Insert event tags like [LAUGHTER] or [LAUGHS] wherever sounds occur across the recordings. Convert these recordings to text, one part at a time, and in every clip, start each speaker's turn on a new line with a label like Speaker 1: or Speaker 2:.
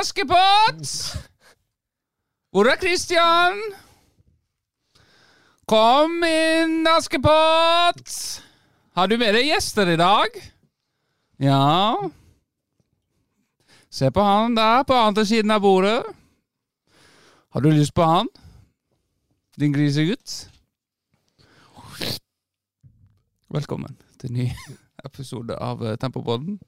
Speaker 1: Askepott! Hvor er Christian? Kom inn, Askepott! Har du med deg gjester i dag? Ja Se på han der, på andre siden av bordet. Har du lyst på han? Din grisegutt? Velkommen til ny [LAUGHS] episode av eh, Tempopodden.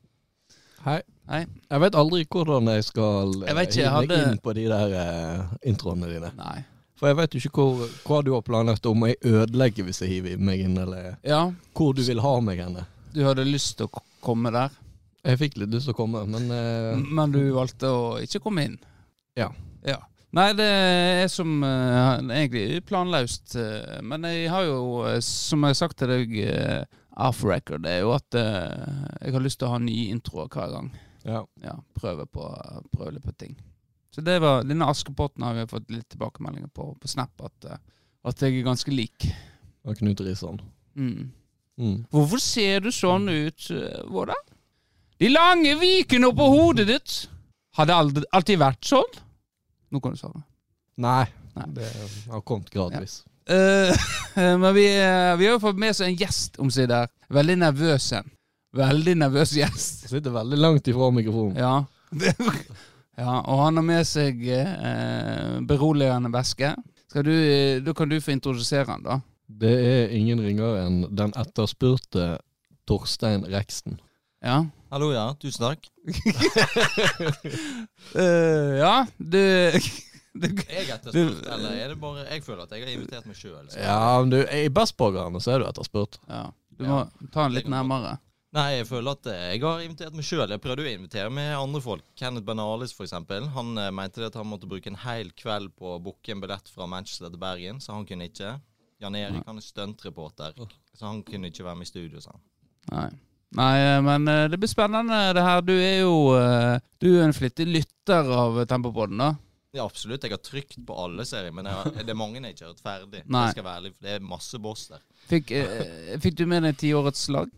Speaker 2: Hei.
Speaker 1: Hei.
Speaker 2: Jeg vet aldri hvordan jeg skal eh,
Speaker 1: Jeg vet ikke, jeg
Speaker 2: hive meg
Speaker 1: hadde-
Speaker 2: inn på de der eh, introene dine.
Speaker 1: Nei.
Speaker 2: For jeg vet jo ikke hvor, hva du har planlagt om jeg ødelegger hvis jeg hiver meg inn, eller
Speaker 1: Ja,
Speaker 2: hvor du vil ha meg henne.
Speaker 1: du hadde lyst til å k- komme der,
Speaker 2: Jeg fikk litt lyst til å komme, men eh,
Speaker 1: men du valgte å ikke komme inn.
Speaker 2: Ja.
Speaker 1: Ja. Nei, det er som eh, egentlig planløst. eh, men jeg har jo, eh, som jeg har sagt til deg eh, off record, det er jo at eh, jeg har lyst til å ha nye introer hver gang.
Speaker 2: ja.
Speaker 1: Ja, prøve på, prøve litt på ting. Så det var, denne Askepotten har vi fått litt tilbakemeldinger på på Snap, at, eh, at jeg er ganske lik.
Speaker 2: Og Knut Risan.
Speaker 1: Mm.
Speaker 2: Mm.
Speaker 1: Hvorfor ser du sånn ut, eh, Våda? De lange vikene oppå hodet ditt. Har det aldri, alltid vært sånn? Nå kan du svare.
Speaker 2: Nei.
Speaker 1: Nei.
Speaker 2: Det har kommet gradvis.
Speaker 1: Eh, [LAUGHS] men vi, eh, vi har jo fått med oss en gjest omsider. Veldig nervøs en. Veldig nervøs gjest.
Speaker 2: Jeg Sitter veldig langt ifra mikrofonen.
Speaker 1: Ja. [LAUGHS] ja og han har med seg eh, beroligende væske. Skal du, eh, da kan du få introdusere han, da.
Speaker 2: Det er ingen ringere enn den etterspurte Torstein Reksten.
Speaker 1: Ja.
Speaker 3: Hallo, ja. Tusen takk.
Speaker 1: Eh, ja, [LAUGHS] du, du
Speaker 3: Jeg
Speaker 1: Du-
Speaker 3: etterspurt, eller er det bare Jeg føler at jeg har invitert meg sjøl.
Speaker 2: Ja, men du, i Bestborgerne så er du etterspurt.
Speaker 1: ja, Du må ta han litt nærmere.
Speaker 3: Nei, jeg føler at eh, jeg har invitert meg sjøl. Jeg prøvde jo å invitere med andre folk. Kenneth Benalis, for eksempel. Han eh, mente det at han måtte bruke en hel kveld på å booke en billett fra Manchester til Bergen, så han kunne ikke. Jan Erik han er stuntreporter, så han kunne ikke være med i studio, sa han.
Speaker 1: Nei. Nei, men eh, det blir spennende det her. Du er jo eh, Du er en flittig lytter av Tempopodden, da.
Speaker 3: Ja, absolutt. Jeg har trykt på alle serier, men jeg har, det er mange jeg ikke har hørt ferdig.
Speaker 1: Nei.
Speaker 3: Det skal være ærlig, for det er masse boss der.
Speaker 1: Fikk, eh, fikk du med deg tiårets lag?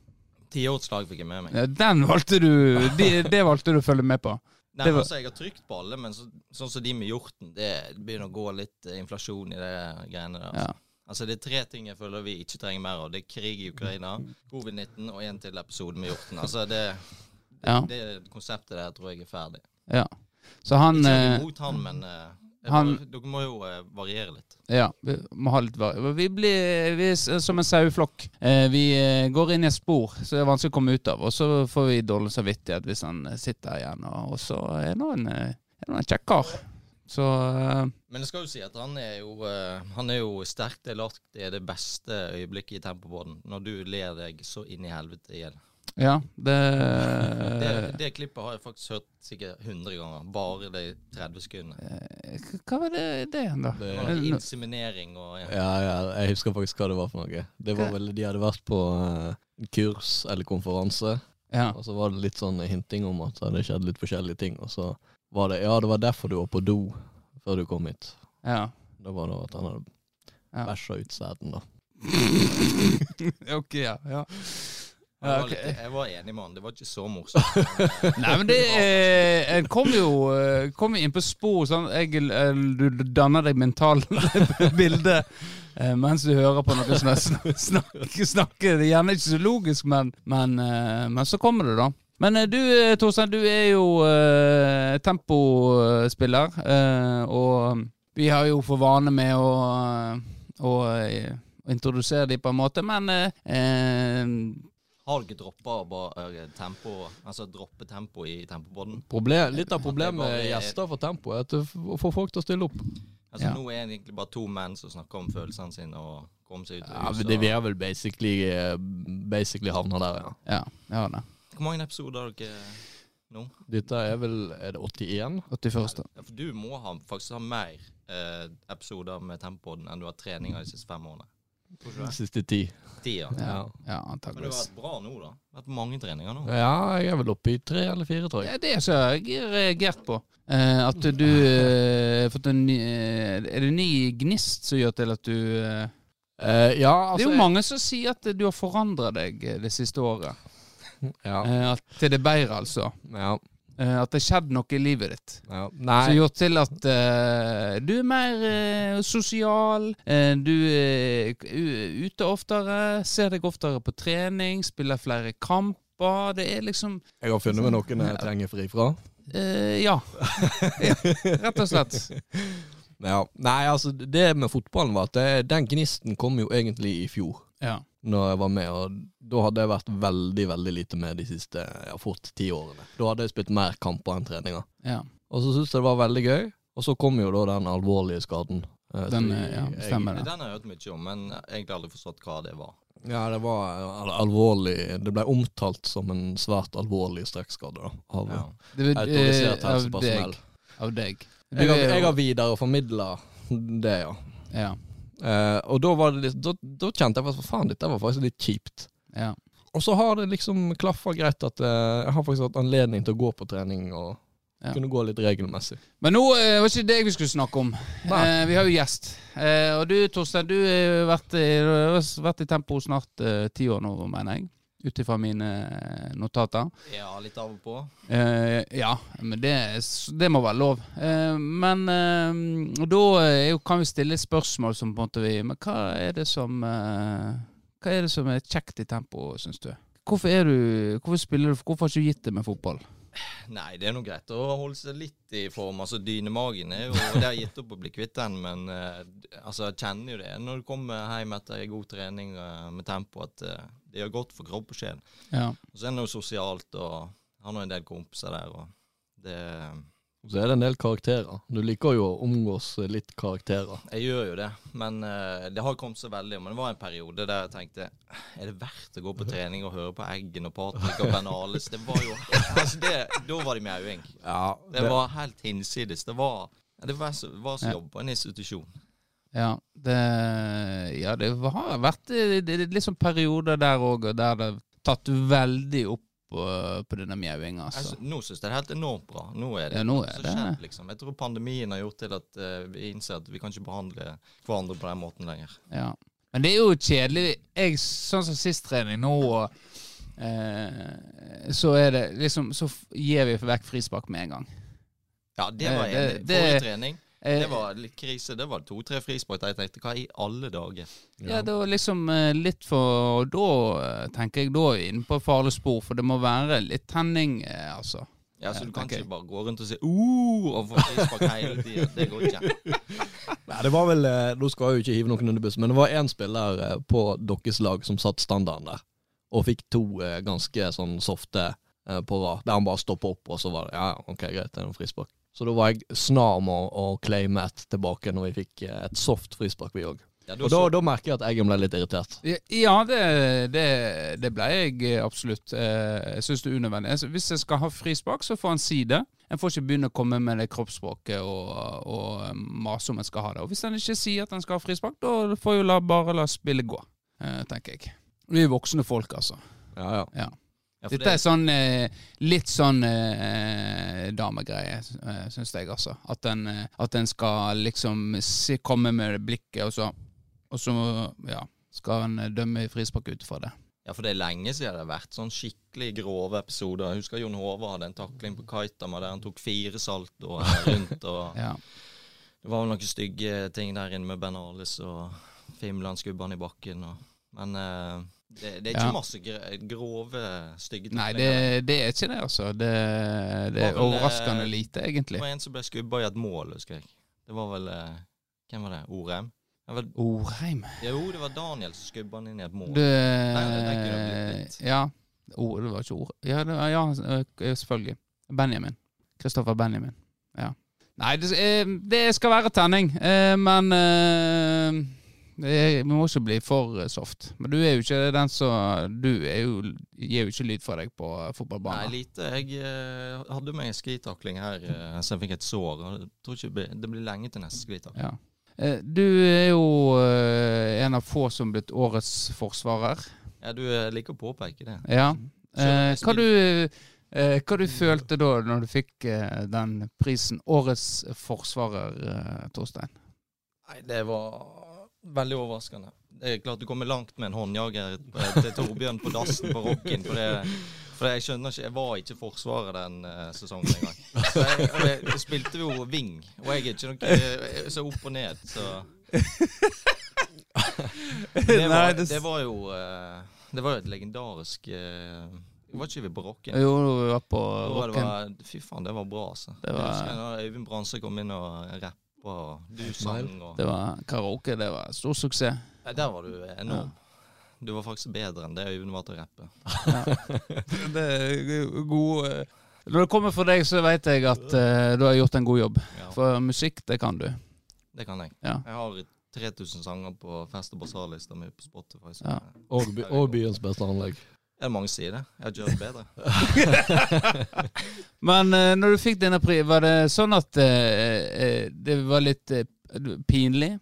Speaker 3: Tiårslag fikk jeg med meg.
Speaker 1: Ja, Den valgte du de, Det valgte du å følge med på.
Speaker 3: Nei,
Speaker 1: Det var-
Speaker 3: altså, Jeg har trykt på alle, men så, sånn som de med hjorten Det begynner å gå litt eh, inflasjon i det greiene der. Altså.
Speaker 1: Ja.
Speaker 3: altså, Det er tre ting jeg føler vi ikke trenger mer av. Det er krig i Ukraina, covid-19 og en til episode med hjorten. Altså, Det,
Speaker 1: Ja.
Speaker 3: det konseptet der tror jeg er ferdig.
Speaker 1: ja. Så han
Speaker 3: Ikke
Speaker 1: eh,
Speaker 3: imot han, men eh, jeg
Speaker 1: han-
Speaker 3: bare- dere må jo eh, variere litt.
Speaker 1: Ja, vi må ha litt var- Vi blir vi er s- som en saueflokk. Eh, Vi eh, går inn i et spor så det er vanskelig å komme ut av, og så får vi dårlig samvittighet hvis han eh, sitter her igjen. Og og så er nå en, eh, er nå en kjekk kar. Så eh,
Speaker 3: Men jeg skal jo si at han er jo, eh, han er jo sterkt delaktig i det beste øyeblikket i tempobåten. Når du ler deg så inn i helvete i hjel.
Speaker 1: ja, det
Speaker 3: Det,
Speaker 1: Eh,
Speaker 3: det klippet har jeg faktisk hørt sikkert 100 ganger. Bare de 30 sekundene.
Speaker 1: Eh, Hva var det, det igjen, da?
Speaker 2: Det-
Speaker 3: Og Inseminering og ja.
Speaker 2: Ja, ja, jeg husker faktisk hva det var for noe. Det var
Speaker 1: Hva?
Speaker 2: vel, De hadde vært på eh, en kurs eller konferanse,
Speaker 1: Ja.
Speaker 2: og så var det litt sånn hinting om at det hadde skjedd litt forskjellige ting. Og så var det Ja, det var derfor du var på do før du kom hit.
Speaker 1: ja.
Speaker 2: Da var det at han hadde
Speaker 1: Ja.
Speaker 2: bæsja ut sæden, da.
Speaker 1: [LAUGHS] Ok, ja. ja.
Speaker 3: Jeg, var
Speaker 1: ok.
Speaker 3: litt, jeg var enig med han, det var ikke så morsomt.
Speaker 1: Nei, men det eh, En kom jo eh, kom jo inn på spor. Sånn, jeg, eh, du danner deg mentalt [LAUGHS] bilde eh, mens du hører på noe sånn snak, snak, snakke. Det er gjerne ikke så logisk, men, men, eh, men så kommer det, da. Men eh, du eh, Torstein, du er jo eh, tempospiller, eh, og vi har jo for vane med å, å, eh, introdusere dem på en måte, men eh, eh,
Speaker 3: Har dere droppa bare eh, tempo, altså droppe tempo i tempobåten?
Speaker 2: Problem, litt av problemet med
Speaker 3: Det var-
Speaker 2: gjester for tempo er at det f- å få folk til å stille opp.
Speaker 3: Altså
Speaker 1: Ja.
Speaker 3: Nå er det egentlig bare to menn som snakker om følelsene sine og komme seg ut
Speaker 2: Ja,
Speaker 3: av
Speaker 2: men det, Vi
Speaker 3: huset.
Speaker 2: er vel basically, eh, basically havna der, ja.
Speaker 1: Ja, jeg har det.
Speaker 3: og- Hvor mange episoder har dere nå?
Speaker 2: Dette er vel Er det 81?
Speaker 1: 81.
Speaker 3: Ja, for du må ha, faktisk ha mer eh, episoder med tempoen enn du har treninger de siste fem årene. Tror ikke du det?
Speaker 2: Siste ti.
Speaker 3: Ti, ja.
Speaker 2: Ja.
Speaker 1: Ja,
Speaker 3: Men det har
Speaker 1: antageligvis.
Speaker 3: vært bra nå, da. Det har vært mange treninger nå.
Speaker 2: ja, jeg er vel oppe i tre eller fire, tror jeg.
Speaker 1: Ja, det er så jeg har reagert på. Eh, at du eh, har fått en ny eh, Er det en ny gnist som gjør til at du eh,
Speaker 2: Eh, ja,
Speaker 1: Det er
Speaker 2: altså
Speaker 1: jo mange som sier at du har forandra deg eh, det siste året.
Speaker 2: Ja.
Speaker 1: Eh, at, til det bedre, altså.
Speaker 2: ja.
Speaker 1: eh, at det har skjedd noe i livet ditt.
Speaker 2: Ja.
Speaker 1: Som har
Speaker 2: Nei.
Speaker 1: gjort til at eh, du er mer eh, sosial, eh, du er k- u- ute oftere, ser deg oftere på trening, spiller flere kamper. Det er liksom
Speaker 2: Jeg har funnet meg noen jeg trenger fri fra.
Speaker 1: eh,
Speaker 2: [LAUGHS]
Speaker 1: ja. ja. Rett og slett.
Speaker 2: Ja. Nei, altså, det med fotballen var at det, den gnisten kom jo egentlig i fjor,
Speaker 1: Ja.
Speaker 2: når jeg var med. Og da hadde jeg vært veldig, veldig lite med de siste ja, fort ti årene. Da hadde jeg spilt mer kamper enn treninger.
Speaker 1: ja.
Speaker 2: Og så syntes jeg det var veldig gøy, og så kom jo da den alvorlige skaden. Eh,
Speaker 1: Den
Speaker 2: så
Speaker 1: eh, ja,
Speaker 2: jeg-
Speaker 1: stemmer, det.
Speaker 3: Den har jeg hørt mye om, men egentlig aldri forstått hva det var.
Speaker 2: Ja, det var al alvorlig Det ble omtalt som en svært alvorlig strekkskade da, av
Speaker 3: Ja.
Speaker 1: det er, eh,
Speaker 2: autorisert
Speaker 1: av
Speaker 2: helsepersonell.
Speaker 1: deg. Av deg. Du
Speaker 2: Jeg har,
Speaker 1: er jo-
Speaker 2: jeg har videreformidla det, ja.
Speaker 1: ja,
Speaker 2: Eh, og da, var det litt, da, da kjente jeg at faen, dette var faktisk litt kjipt.
Speaker 1: ja.
Speaker 2: Og så har det liksom klaffa greit at eh, jeg har faktisk hatt anledning til å gå på trening og
Speaker 1: Ja.
Speaker 2: kunne gå litt regelmessig.
Speaker 1: Men nå eh, var ikke det vi skulle snakke om.
Speaker 2: Nei.
Speaker 1: Eh, vi har jo gjest. Eh, og du Torstein, du eh, har jo vært, i- du har jo vært i Tempo snart eh, ti år nå, mener jeg. Ut ifra mine eh, notater.
Speaker 3: Ja, litt av og på.
Speaker 1: Eh, ja, men det, det må være lov. Eh, men eh, da er jo, kan vi stille et spørsmål som på en måte vi Men hva er det som eh, Hva er det som er kjekt i Tempo, syns du? Hvorfor er du Hvorfor spiller du Hvorfor har ikke du gitt det med fotball?
Speaker 3: Nei, det er nå greit å holde seg litt i form. Altså, dynemagen er jo Det har jeg gitt opp å bli kvitt den, men eh, altså, jeg kjenner jo det når du kommer hjem etter en god trening eh, med tempo, at eh, det gjør godt for kropp og sjel.
Speaker 1: Ja.
Speaker 3: Og så er det noe sosialt, og han har en del kompiser der, og det
Speaker 2: Så er det en del karakterer. Du liker jo å omgås eh, litt karakterer.
Speaker 3: Jeg gjør jo det, men eh, det har kommet så veldig. Men det var en periode der jeg tenkte "Ah, Er det verdt å gå på trening og høre på Eggen og Patrick og Bernales? Det var jo altså det, Da var det mjauing.
Speaker 2: Ja,
Speaker 3: Det var helt hinsides. Det var det var så, var så jobb på en institusjon.
Speaker 1: Ja, det, ja, det har vært det, det, det, litt sånn perioder der òg, der det har tatt veldig opp eh, på denne mjauinga.
Speaker 3: Jeg,
Speaker 1: Altså.
Speaker 3: sy- nå syns jeg det er helt enormt bra. Nå er det
Speaker 1: Ja, nå er
Speaker 3: så
Speaker 1: det-
Speaker 3: kjent, liksom. Jeg tror pandemien har gjort til at eh, vi innser at vi kan ikke behandle hverandre på den måten lenger.
Speaker 1: Ja. Men det er jo kjedelig. Jeg, sånn som sist trening nå, og, eh, så er det liksom Så f- gir vi vekk frispark med en gang.
Speaker 3: Ja, det var
Speaker 1: Eh,
Speaker 3: en
Speaker 1: det-
Speaker 3: forrige
Speaker 1: det-
Speaker 3: trening.
Speaker 1: Eh,
Speaker 3: Det var litt krise. Det var to-tre frispark der jeg tenkte hva i alle dager?
Speaker 1: Ja, det var liksom eh, litt for Og da eh, tenker jeg da er vi inne på farlig spor, for det må være litt tenning, eh, altså.
Speaker 3: Ja, så
Speaker 1: Ja,
Speaker 3: du kan
Speaker 1: tenker
Speaker 3: ikke
Speaker 1: jeg.
Speaker 3: bare gå rundt og si uh, og få frispark hele tida. Det går ikke.
Speaker 2: Nei, det var vel eh, Nå skal jeg jo ikke hive noen under bussen, men det var én spiller eh, på deres lag som satte standarden der, og fikk to eh, ganske sånn softe eh, på rad, der han bare stoppa opp, og så var det ja, ja, ok, greit, det er en frispark. Så da var jeg snar med å å claime et tilbake når vi fikk eh, et soft frispark, vi òg.
Speaker 3: Ja,
Speaker 2: Og da, da merker jeg at Eggen ble litt irritert.
Speaker 1: Ja, det, det, det ble jeg eh, absolutt. Eh, Jeg syns det er unødvendig. Jeg- Hvis jeg skal ha frispark, så får han si det. En får ikke begynne å komme med det kroppsspråket og, og eh, mase om en skal ha det. Og hvis han ikke sier at han skal ha frispark, da får jo la, bare la spillet gå, eh, tenker jeg. Vi er voksne folk, altså.
Speaker 2: Ja, ja.
Speaker 3: Ja, for
Speaker 1: Dette er sånn eh, litt sånn eh, damegreie, eh, syns jeg, altså. At en, eh, at en skal liksom se, komme med det blikket, og så, og så ja, skal en eh, dømme frispark ut fra det.
Speaker 3: Ja, for det er lenge siden det har vært sånn skikkelig grove episoder. Jeg husker Jon Håvard hadde en takling på Kaitama der han tok fire saltoer rundt. og
Speaker 1: Ja.
Speaker 3: Det var vel noen stygge ting der inne med Bernales og Fimland skubba han i bakken. og... Men eh, det, det er ikke
Speaker 1: Ja.
Speaker 3: masse gr- grove, stygge
Speaker 1: Nei, det, det er ikke det, altså. Det, det
Speaker 3: Var
Speaker 1: er
Speaker 3: vel,
Speaker 1: overraskende
Speaker 3: eh,
Speaker 1: lite,
Speaker 3: Det
Speaker 1: egentlig.
Speaker 3: var en som ble skubba i et mål, husker jeg. Det var vel eh, Hvem var det? Orem? Det var,
Speaker 1: Orheim
Speaker 3: jo, det var Daniel som skubba han inn i et mål.
Speaker 1: det,
Speaker 3: det kunne blitt litt.
Speaker 1: eh, Ja. O- det var ikke ord. Ja, det, ja, eh, selvfølgelig. Benjamin. Kristoffer Benjamin. Ja. Nei, det, eh, det skal være tenning, eh, men eh, det- vi må ikke bli for eh, soft. Men du er jo ikke den som Du er jo, gir jo ikke lyd fra deg på eh,
Speaker 3: Nei,
Speaker 1: fotballbanen.
Speaker 3: lite. Jeg eh, hadde med en sklitakling her, eh, så jeg fikk et sår. og Jeg tror ikke det blir- det blir lenge til neste sklitakling.
Speaker 1: Ja. Eh, Du er jo eh, en av få som blitt årets forsvarer.
Speaker 3: Ja, du eh, liker å påpeke det.
Speaker 1: Ja.
Speaker 3: Så jeg
Speaker 1: Eh, hva,
Speaker 3: spiller-
Speaker 1: du, eh, hva du følte da når du fikk eh, den prisen? Årets forsvarer, eh, Torstein.
Speaker 3: Nei, det var veldig overraskende. Det er klart du kommer langt med en håndjager eh, til Torbjørn på dassen på Rocken, for det For jeg skjønner ikke, jeg var ikke i Forsvaret den eh, sesongen engang. Så jeg, og jeg, jeg spilte jo wing, og jeg er ikke noe jeg er så opp og ned, så Det
Speaker 1: [LAUGHS] Nei,
Speaker 3: var,
Speaker 1: det s-
Speaker 3: det var jo eh, Det var jo et legendarisk eh, Var ikke vi på Rocken?
Speaker 1: Jo, vi var på
Speaker 3: Da det
Speaker 1: rocken.
Speaker 3: var, fy faen, det var bra, altså.
Speaker 1: Det var-
Speaker 3: Jeg husker da Øyvind Branse kom inn og rappa, og du sang, og
Speaker 1: Det var karaoke. Det var stor suksess.
Speaker 3: Nei, Der var du enorm. Du var faktisk bedre enn det Øyvind var til å rappe.
Speaker 1: Det er god eh, Når det kommer fra deg, så vet jeg at eh, du har gjort en god jobb.
Speaker 3: Ja,
Speaker 1: For musikk, det kan du.
Speaker 3: det kan jeg.
Speaker 1: Ja.
Speaker 3: Jeg har 3000 sanger på fest- og basarlista mi på Spotify. Så
Speaker 1: Ja.
Speaker 2: Og, by, og byens beste anlegg.
Speaker 3: Er det mange som sier det? Jeg har ikke hørt bedre.
Speaker 1: Men eh, når du fikk denne pri, var det sånn at eh, eh, det var litt eh, pinlig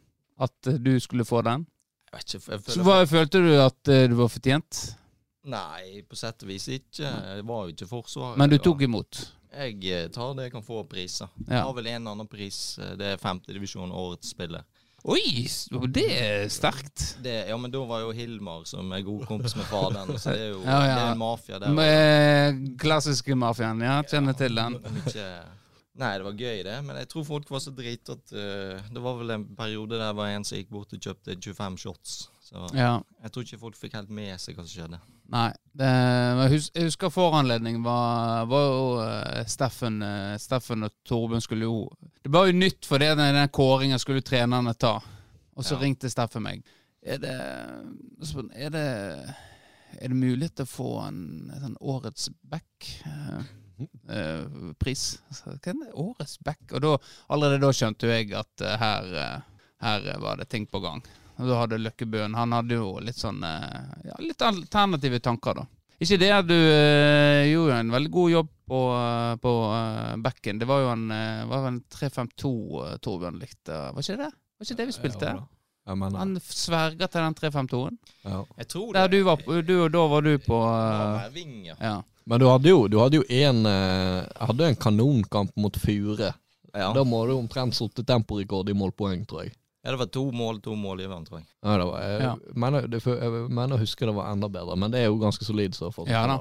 Speaker 1: at eh, du skulle få den?
Speaker 3: Jeg vet ikke, jeg
Speaker 1: Så
Speaker 3: føler
Speaker 1: hva, følte du at eh, du var fortjent?
Speaker 3: Nei, på sett og vis ikke. Jeg var jo ikke i Forsvaret.
Speaker 1: Men du
Speaker 3: og
Speaker 1: tok imot?
Speaker 3: Jeg eh, tar det jeg kan få av priser. Jeg
Speaker 1: Ja.
Speaker 3: har vel en annen pris. eh, Det er femtedivisjon, årets spiller.
Speaker 1: Oi, s- det er sterkt.
Speaker 3: Det, ja, men da var jo Hilmar, som er god kompis med faderen, så det er jo
Speaker 1: Ja, ja.
Speaker 3: Det er en mafia der.
Speaker 1: Med klassiske mafiaen, ja. Kjenner til den.
Speaker 3: Mykje- Nei, det var gøy, det, men jeg tror folk var så drita at eh, Det var vel en periode der var en som gikk bort og kjøpte 25 shots. Så
Speaker 1: Ja.
Speaker 3: jeg tror ikke folk fikk helt med seg hva som skjedde.
Speaker 1: Nei. Det, men hus, jeg husker foranledningen var, var jo eh, Steffen, eh, Steffen og Torben skulle jo Det var jo nytt for det, den, den kåringen skulle trenerne ta. Og så
Speaker 3: Ja.
Speaker 1: ringte Steffen meg. Er det, så spurte han, er det er det mulighet til å få en, en sånn årets eh, back-pris? Hva er det? Årets back? Og da, allerede da skjønte jo jeg at eh, her, eh, her eh, var det ting på gang. Og da hadde Løkkebøen Han hadde jo litt sånn eh, ja, Litt alternative tanker, da. Ikke det at du eh, gjorde jo en veldig god jobb på, eh, på eh, backen. Det var jo en, eh, var vel en 352 eh, Torbjørn likte. Var ikke det? Var ikke det vi spilte?
Speaker 2: Jeg mener,
Speaker 1: Han sverger til den 352-en.
Speaker 2: ja.
Speaker 3: Jeg tror
Speaker 1: Der du var på, du, og da var du på eh, ja.
Speaker 2: Men du hadde jo, du hadde jo en, eh, hadde en kanonkamp mot Fure.
Speaker 3: Ja.
Speaker 2: Da må du omtrent satt temporekord i målpoeng, tror jeg.
Speaker 3: ja, det var to mål, to målgivere, tror jeg.
Speaker 2: Ja, det var, jeg,
Speaker 1: Ja.
Speaker 2: mener, det, jeg mener å huske det var enda bedre, men det er jo ganske solid. Så for,
Speaker 1: Ja da.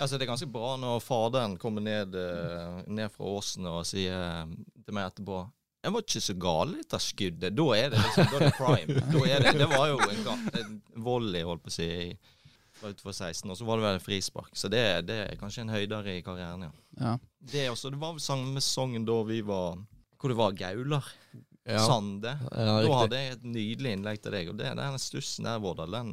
Speaker 3: Altså, det er ganske bra når faderen kommer ned, eh, ned fra åsen og sier eh, til meg etterpå jeg var ikke så gal i dette skuddet. Da er det liksom, da er det prime. Da er det, det var jo en, gang, en volley, holdt på å si, i- fra utenfor 16, og så var det vel en frispark. Så det, er- det er kanskje en høydere i karrieren, ja.
Speaker 1: ja.
Speaker 3: Det, er også, det var vel samme sesongen da vi var Hvor det var Gaular,
Speaker 2: Ja,
Speaker 3: Sande.
Speaker 2: ja,
Speaker 3: Da
Speaker 2: riktig.
Speaker 3: hadde jeg et nydelig innlegg til deg, og det, den stussen der, Vårdal, den,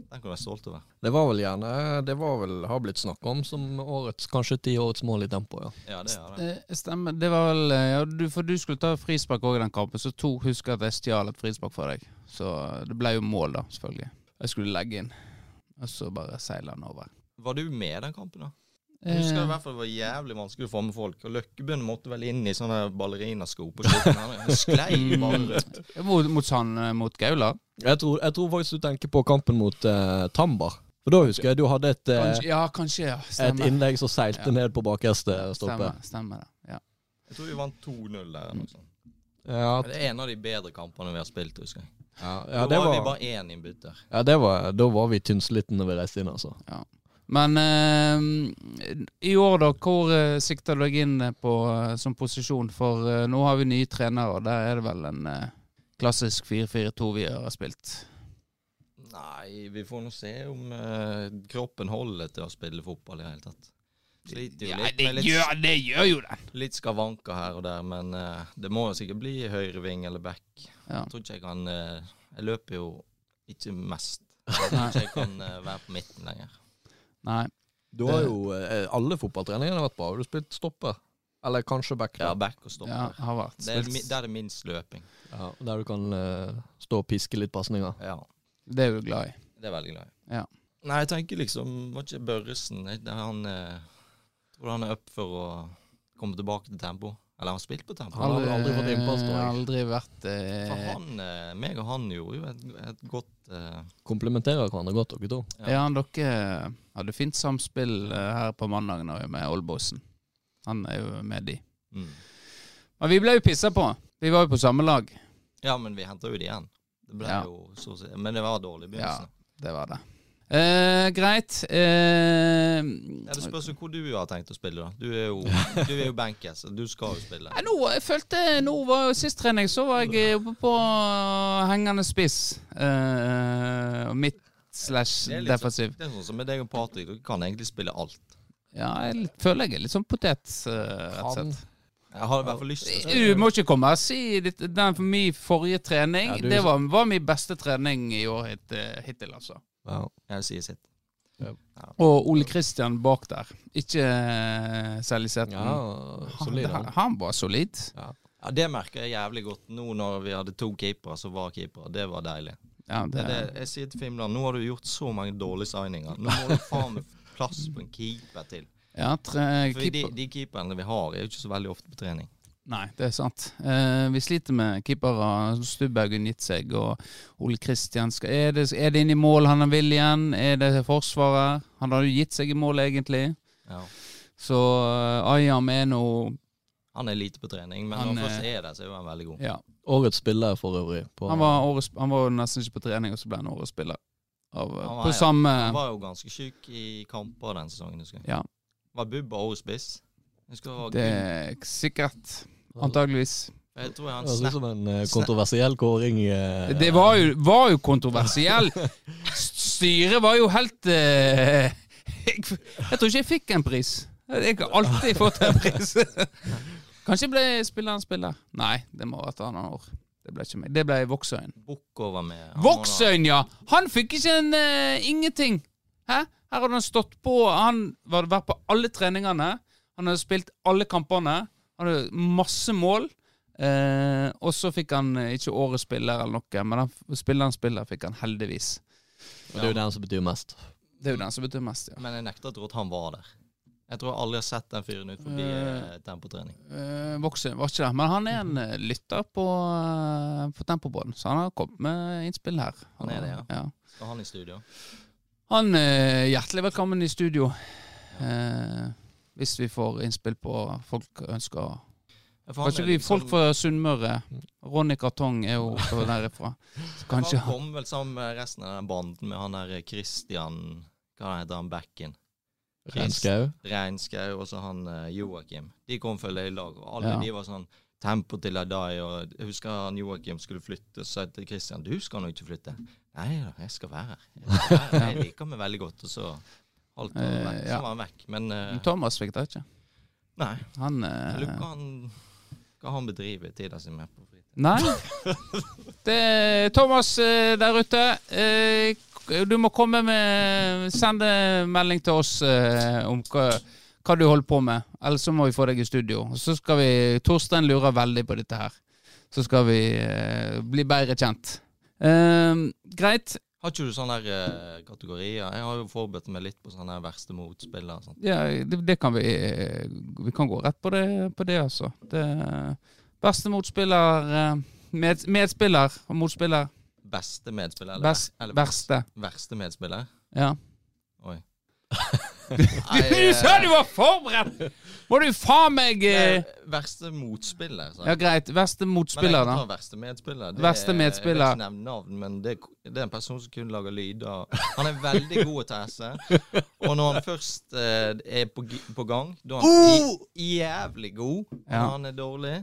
Speaker 3: den kan du være stolt over.
Speaker 2: Det var vel gjerne Det var vel har blitt snakk om som årets, kanskje ti årets mål i tempo, ja.
Speaker 3: Ja, det er det.
Speaker 1: Eh, Det stemmer. Det var vel eh, ja, du, For du skulle ta frispark òg i den kampen, så to husker at jeg stjal et frispark fra deg. Så eh, det ble jo mål, da, selvfølgelig. Jeg skulle legge inn, og så bare seile den over.
Speaker 3: Var du med i den kampen, da? Jeg
Speaker 1: Eh.
Speaker 3: husker i hvert fall det var jævlig vanskelig å få med folk. Og Løkkebøen måtte vel inn i sånne ballerinasko på slutten. Han Sklei bare rundt.
Speaker 1: Eh, mot, mot Sand, eh, mot Gaular?
Speaker 2: Jeg tror, jeg tror faktisk du tenker på kampen mot eh, Tambar. For da husker jeg du hadde et, eh,
Speaker 1: Kanskje, ja, kanskje. ja,
Speaker 2: et
Speaker 1: Stemmer.
Speaker 2: innlegg som seilte
Speaker 1: Ja.
Speaker 2: ned på bakerste stoppe.
Speaker 1: Stemmer, stemmer det. Ja.
Speaker 3: Jeg tror vi vant 2-0 der. eller noe sånt.
Speaker 2: Ja,
Speaker 3: Det er en av de bedre kampene vi har spilt, husker jeg.
Speaker 2: ja,
Speaker 3: Da
Speaker 2: det
Speaker 3: var vi
Speaker 2: var,
Speaker 3: bare én innbytter.
Speaker 2: ja, det var Da var vi tynnslitne når vi reiste inn, altså.
Speaker 1: Men eh, i år, da, hvor eh, sikter du deg inn eh, på eh, som posisjon? For eh, nå har vi nye trenere, og der er det vel en eh, klassisk 4-4-2 vi har spilt.
Speaker 3: Nei, vi får nå se om eh, kroppen holder til å spille fotball i det hele tatt. Sliter jo
Speaker 1: Ja,
Speaker 3: litt
Speaker 1: det,
Speaker 3: med litt,
Speaker 1: gjør, det gjør jo det.
Speaker 3: litt skavanker her og der, men eh, det må jo sikkert bli høyreving eller back.
Speaker 1: Ja.
Speaker 3: Jeg tror ikke jeg kan eh, Jeg løper jo ikke mest.
Speaker 1: Nei.
Speaker 3: Så jeg kan eh, være på midten lenger.
Speaker 1: Nei.
Speaker 2: Du har jo eh, alle fotballtreningene har vært bra. Har du spilt stopper? Eller kanskje back?
Speaker 3: Ja, back og
Speaker 1: Ja,
Speaker 3: stopper.
Speaker 1: har vært.
Speaker 3: Det er,
Speaker 1: spilt.
Speaker 3: mi- der er det minst løping.
Speaker 2: Ja, der du kan eh, stå og piske litt pasninger.
Speaker 3: Ja,
Speaker 1: Det er du glad i.
Speaker 3: det er veldig glad i.
Speaker 1: Ja.
Speaker 3: Nei, jeg tenker liksom Var ikke Børresen jeg- det er Han eh, tror han er opp for å komme tilbake til tempo. Eller han har spilt på tempo.
Speaker 2: Han har vel aldri fått innpass, tror jeg.
Speaker 1: Aldri vært
Speaker 3: For
Speaker 1: eh,
Speaker 3: han, eh, meg og han gjorde jo et, et godt eh,
Speaker 2: Komplementerer hverandre godt, dere to.
Speaker 3: ja.
Speaker 1: Ja, han dere eh, hadde fint samspill eh, her på mandag nå med Olbosen. Han er jo med de.
Speaker 3: mm.
Speaker 1: Men vi ble jo pissa på. Vi var jo på samme lag.
Speaker 3: Ja, men vi henta jo det igjen. Det ble
Speaker 1: Ja.
Speaker 3: jo så å si Men det var dårlig i
Speaker 1: Ja,
Speaker 3: begynnelsen.
Speaker 1: det var det. Eh, greit. Eh,
Speaker 3: Ja, Det spørs jo hvor du har tenkt å spille, da. Du er jo, du er jo bankers, og du skal jo spille.
Speaker 1: nei, nå, jeg følte nå var jo Sist trening så var jeg oppe på hengende spiss. Eh, midt slash
Speaker 3: Det er litt
Speaker 1: defensiv.
Speaker 3: Det er sånn som med deg og Patrick, dere kan egentlig spille alt.
Speaker 1: Ja, jeg litt- føler jeg er litt sånn potet, eh, rett og slett.
Speaker 3: Jeg har i hvert fall lyst til å spille.
Speaker 1: Du må ikke komme og si ditt, den for min forrige trening.
Speaker 2: Ja, du-
Speaker 1: det var, var min beste trening i år hit, hittil, altså.
Speaker 2: Ja.
Speaker 3: Jeg sier sitt.
Speaker 1: Og Ole Kristian bak der. Ikke eh, Sally Sæthen.
Speaker 2: ja, solid.
Speaker 1: Mm. han,
Speaker 2: han.
Speaker 1: han var solid.
Speaker 3: Ja, Det merker jeg jævlig godt nå når vi hadde to keepere som var keepere. Det var deilig.
Speaker 1: Ja, det,
Speaker 3: Men det, jeg sier til Fimland, nå har du gjort så mange dårlige signinger. Nå må du faen meg få plass på en keeper til.
Speaker 1: ja tre,
Speaker 3: For de,
Speaker 1: keeper.
Speaker 3: de keeperne vi har, er jo ikke så veldig ofte på trening.
Speaker 1: Nei, det er sant. Eh, vi sliter med keepere. Stubbaugen gitt seg, og Ole Kristian skal er det, er det inn i mål han vil igjen? Er det Forsvaret? Han har jo gitt seg i mål, egentlig.
Speaker 3: Ja.
Speaker 1: Så eh, Ayam er nå
Speaker 3: Han er lite på trening, men
Speaker 1: Han
Speaker 3: når han først
Speaker 1: er-
Speaker 3: er der, så er jo han veldig god.
Speaker 1: Ja.
Speaker 2: Årets spiller for øvrig. På,
Speaker 1: Han var, årets, han var jo nesten ikke på trening, og så ble han årets spiller. Av, eh,
Speaker 3: Han var-
Speaker 1: på samme
Speaker 3: Han var jo ganske syk i kamper den sesongen, husker jeg.
Speaker 1: Ja.
Speaker 3: Var Bubba også spiss? Jeg, husker det var
Speaker 1: Det er
Speaker 3: Gunn-
Speaker 1: sikkert. Antageligvis.
Speaker 3: jeg tror
Speaker 2: Det
Speaker 3: han
Speaker 2: høres ut
Speaker 3: snap
Speaker 2: som en eh, kontroversiell kåring. eh,
Speaker 1: Det var jo, var jo kontroversiell. Styret var jo helt eh, [LAUGHS] jeg, jeg tror ikke jeg fikk en pris. Jeg har alltid fått en pris. Kanskje ble spilleren spiller. Nei, det må være et annet år. Det ble ikke meg. Det ble Voksøyen.
Speaker 3: Bukk over med han var da-
Speaker 1: Voksøyen, ja! Han fikk ikke en eh, ingenting. Hæ? Her hadde han stått på. Han hadde vært på alle treningene. Han hadde spilt alle kampene. Han hadde masse mål. Eh, og så fikk han eh, ikke årets spiller eller noe, men han, spilleren spiller fikk han heldigvis.
Speaker 2: Og det er jo den som betyr mest.
Speaker 1: Det er jo den som betyr mest, ja.
Speaker 3: Men jeg nekter å tro at han var der. Jeg tror jeg aldri har sett den fyren ut forbi eh, tempotrening.
Speaker 1: Eh, Voksøyen var ikke det. Men han er en eh, lytter på, eh, på Tempobåten, så han har kommet med innspill her.
Speaker 3: Han er det, ja.
Speaker 1: ja.
Speaker 3: Skal han i studio?
Speaker 1: Han eh, hjertelig velkommen i studio. Eh, hvis vi får innspill på folk ønsker
Speaker 3: Ja, for han
Speaker 1: Kanskje
Speaker 3: er
Speaker 1: vi
Speaker 3: liksom-
Speaker 1: folk fra Sunnmøre. Ronny Kartong er jo fra derifra. Så kanskje
Speaker 3: Han kom vel sammen med resten av den banden med han der eh, Christian Hva heter han backen?
Speaker 2: Renskau.
Speaker 3: Reinskau og så han eh, Joakim. De kom følge i lag, og alle
Speaker 1: Ja.
Speaker 3: de var sånn Tempo til Adai, og jeg husker han Joakim skulle flytte, så sa jeg til Christian du skal nå ikke flytte. Nei da, jeg skal være her. Jeg, skal
Speaker 1: [LAUGHS]
Speaker 3: være her. jeg liker meg veldig godt. Og så holdt han
Speaker 1: Eh,
Speaker 3: vekk.
Speaker 1: ja.
Speaker 3: Så var han vekk. Men eh,
Speaker 1: Thomas fikk det ikke.
Speaker 3: nei.
Speaker 1: Han
Speaker 3: Jeg lurer
Speaker 1: eh,
Speaker 3: på hva han, hva han bedriver tida si med på fritiden.
Speaker 1: Nei. Det er Thomas eh, der ute. eh, k- Du må komme med Sende melding til oss eh, om hva, hva du holder på med. Ellers så må vi få deg i studio. Og Så skal vi Torstein lurer veldig på dette her. Så skal vi eh, bli bedre kjent. Eh, greit.
Speaker 3: Har ikke du sånne der, eh, kategorier? Jeg har jo forberedt meg litt på sånne her verste motspillere. og sånn. sånt.
Speaker 1: Ja, det, det kan vi eh, Vi kan gå rett på det, på det altså. Det, beste motspiller eh, med, Medspiller og motspiller.
Speaker 3: Beste medspiller? Eller,
Speaker 1: Best,
Speaker 3: eller
Speaker 1: verste.
Speaker 3: Verste medspiller?
Speaker 1: Ja. [LAUGHS]
Speaker 3: Oi.
Speaker 1: Du, du sa du var forberedt! Må du faen meg eh,
Speaker 3: Eh, Verste motspiller, sa
Speaker 1: Ja, greit. Verste motspiller,
Speaker 3: Men jeg
Speaker 1: da.
Speaker 3: kan ta verste medspiller.
Speaker 1: Verste medspiller.
Speaker 3: Jeg vil ikke nevne navn, men det, det er en person som kun lager lyder. Han er veldig god til å esse. Og når han først eh, er på, gi- på gang, da er han i, jævlig god. Og
Speaker 1: Oh! Ja.
Speaker 3: Når han er dårlig,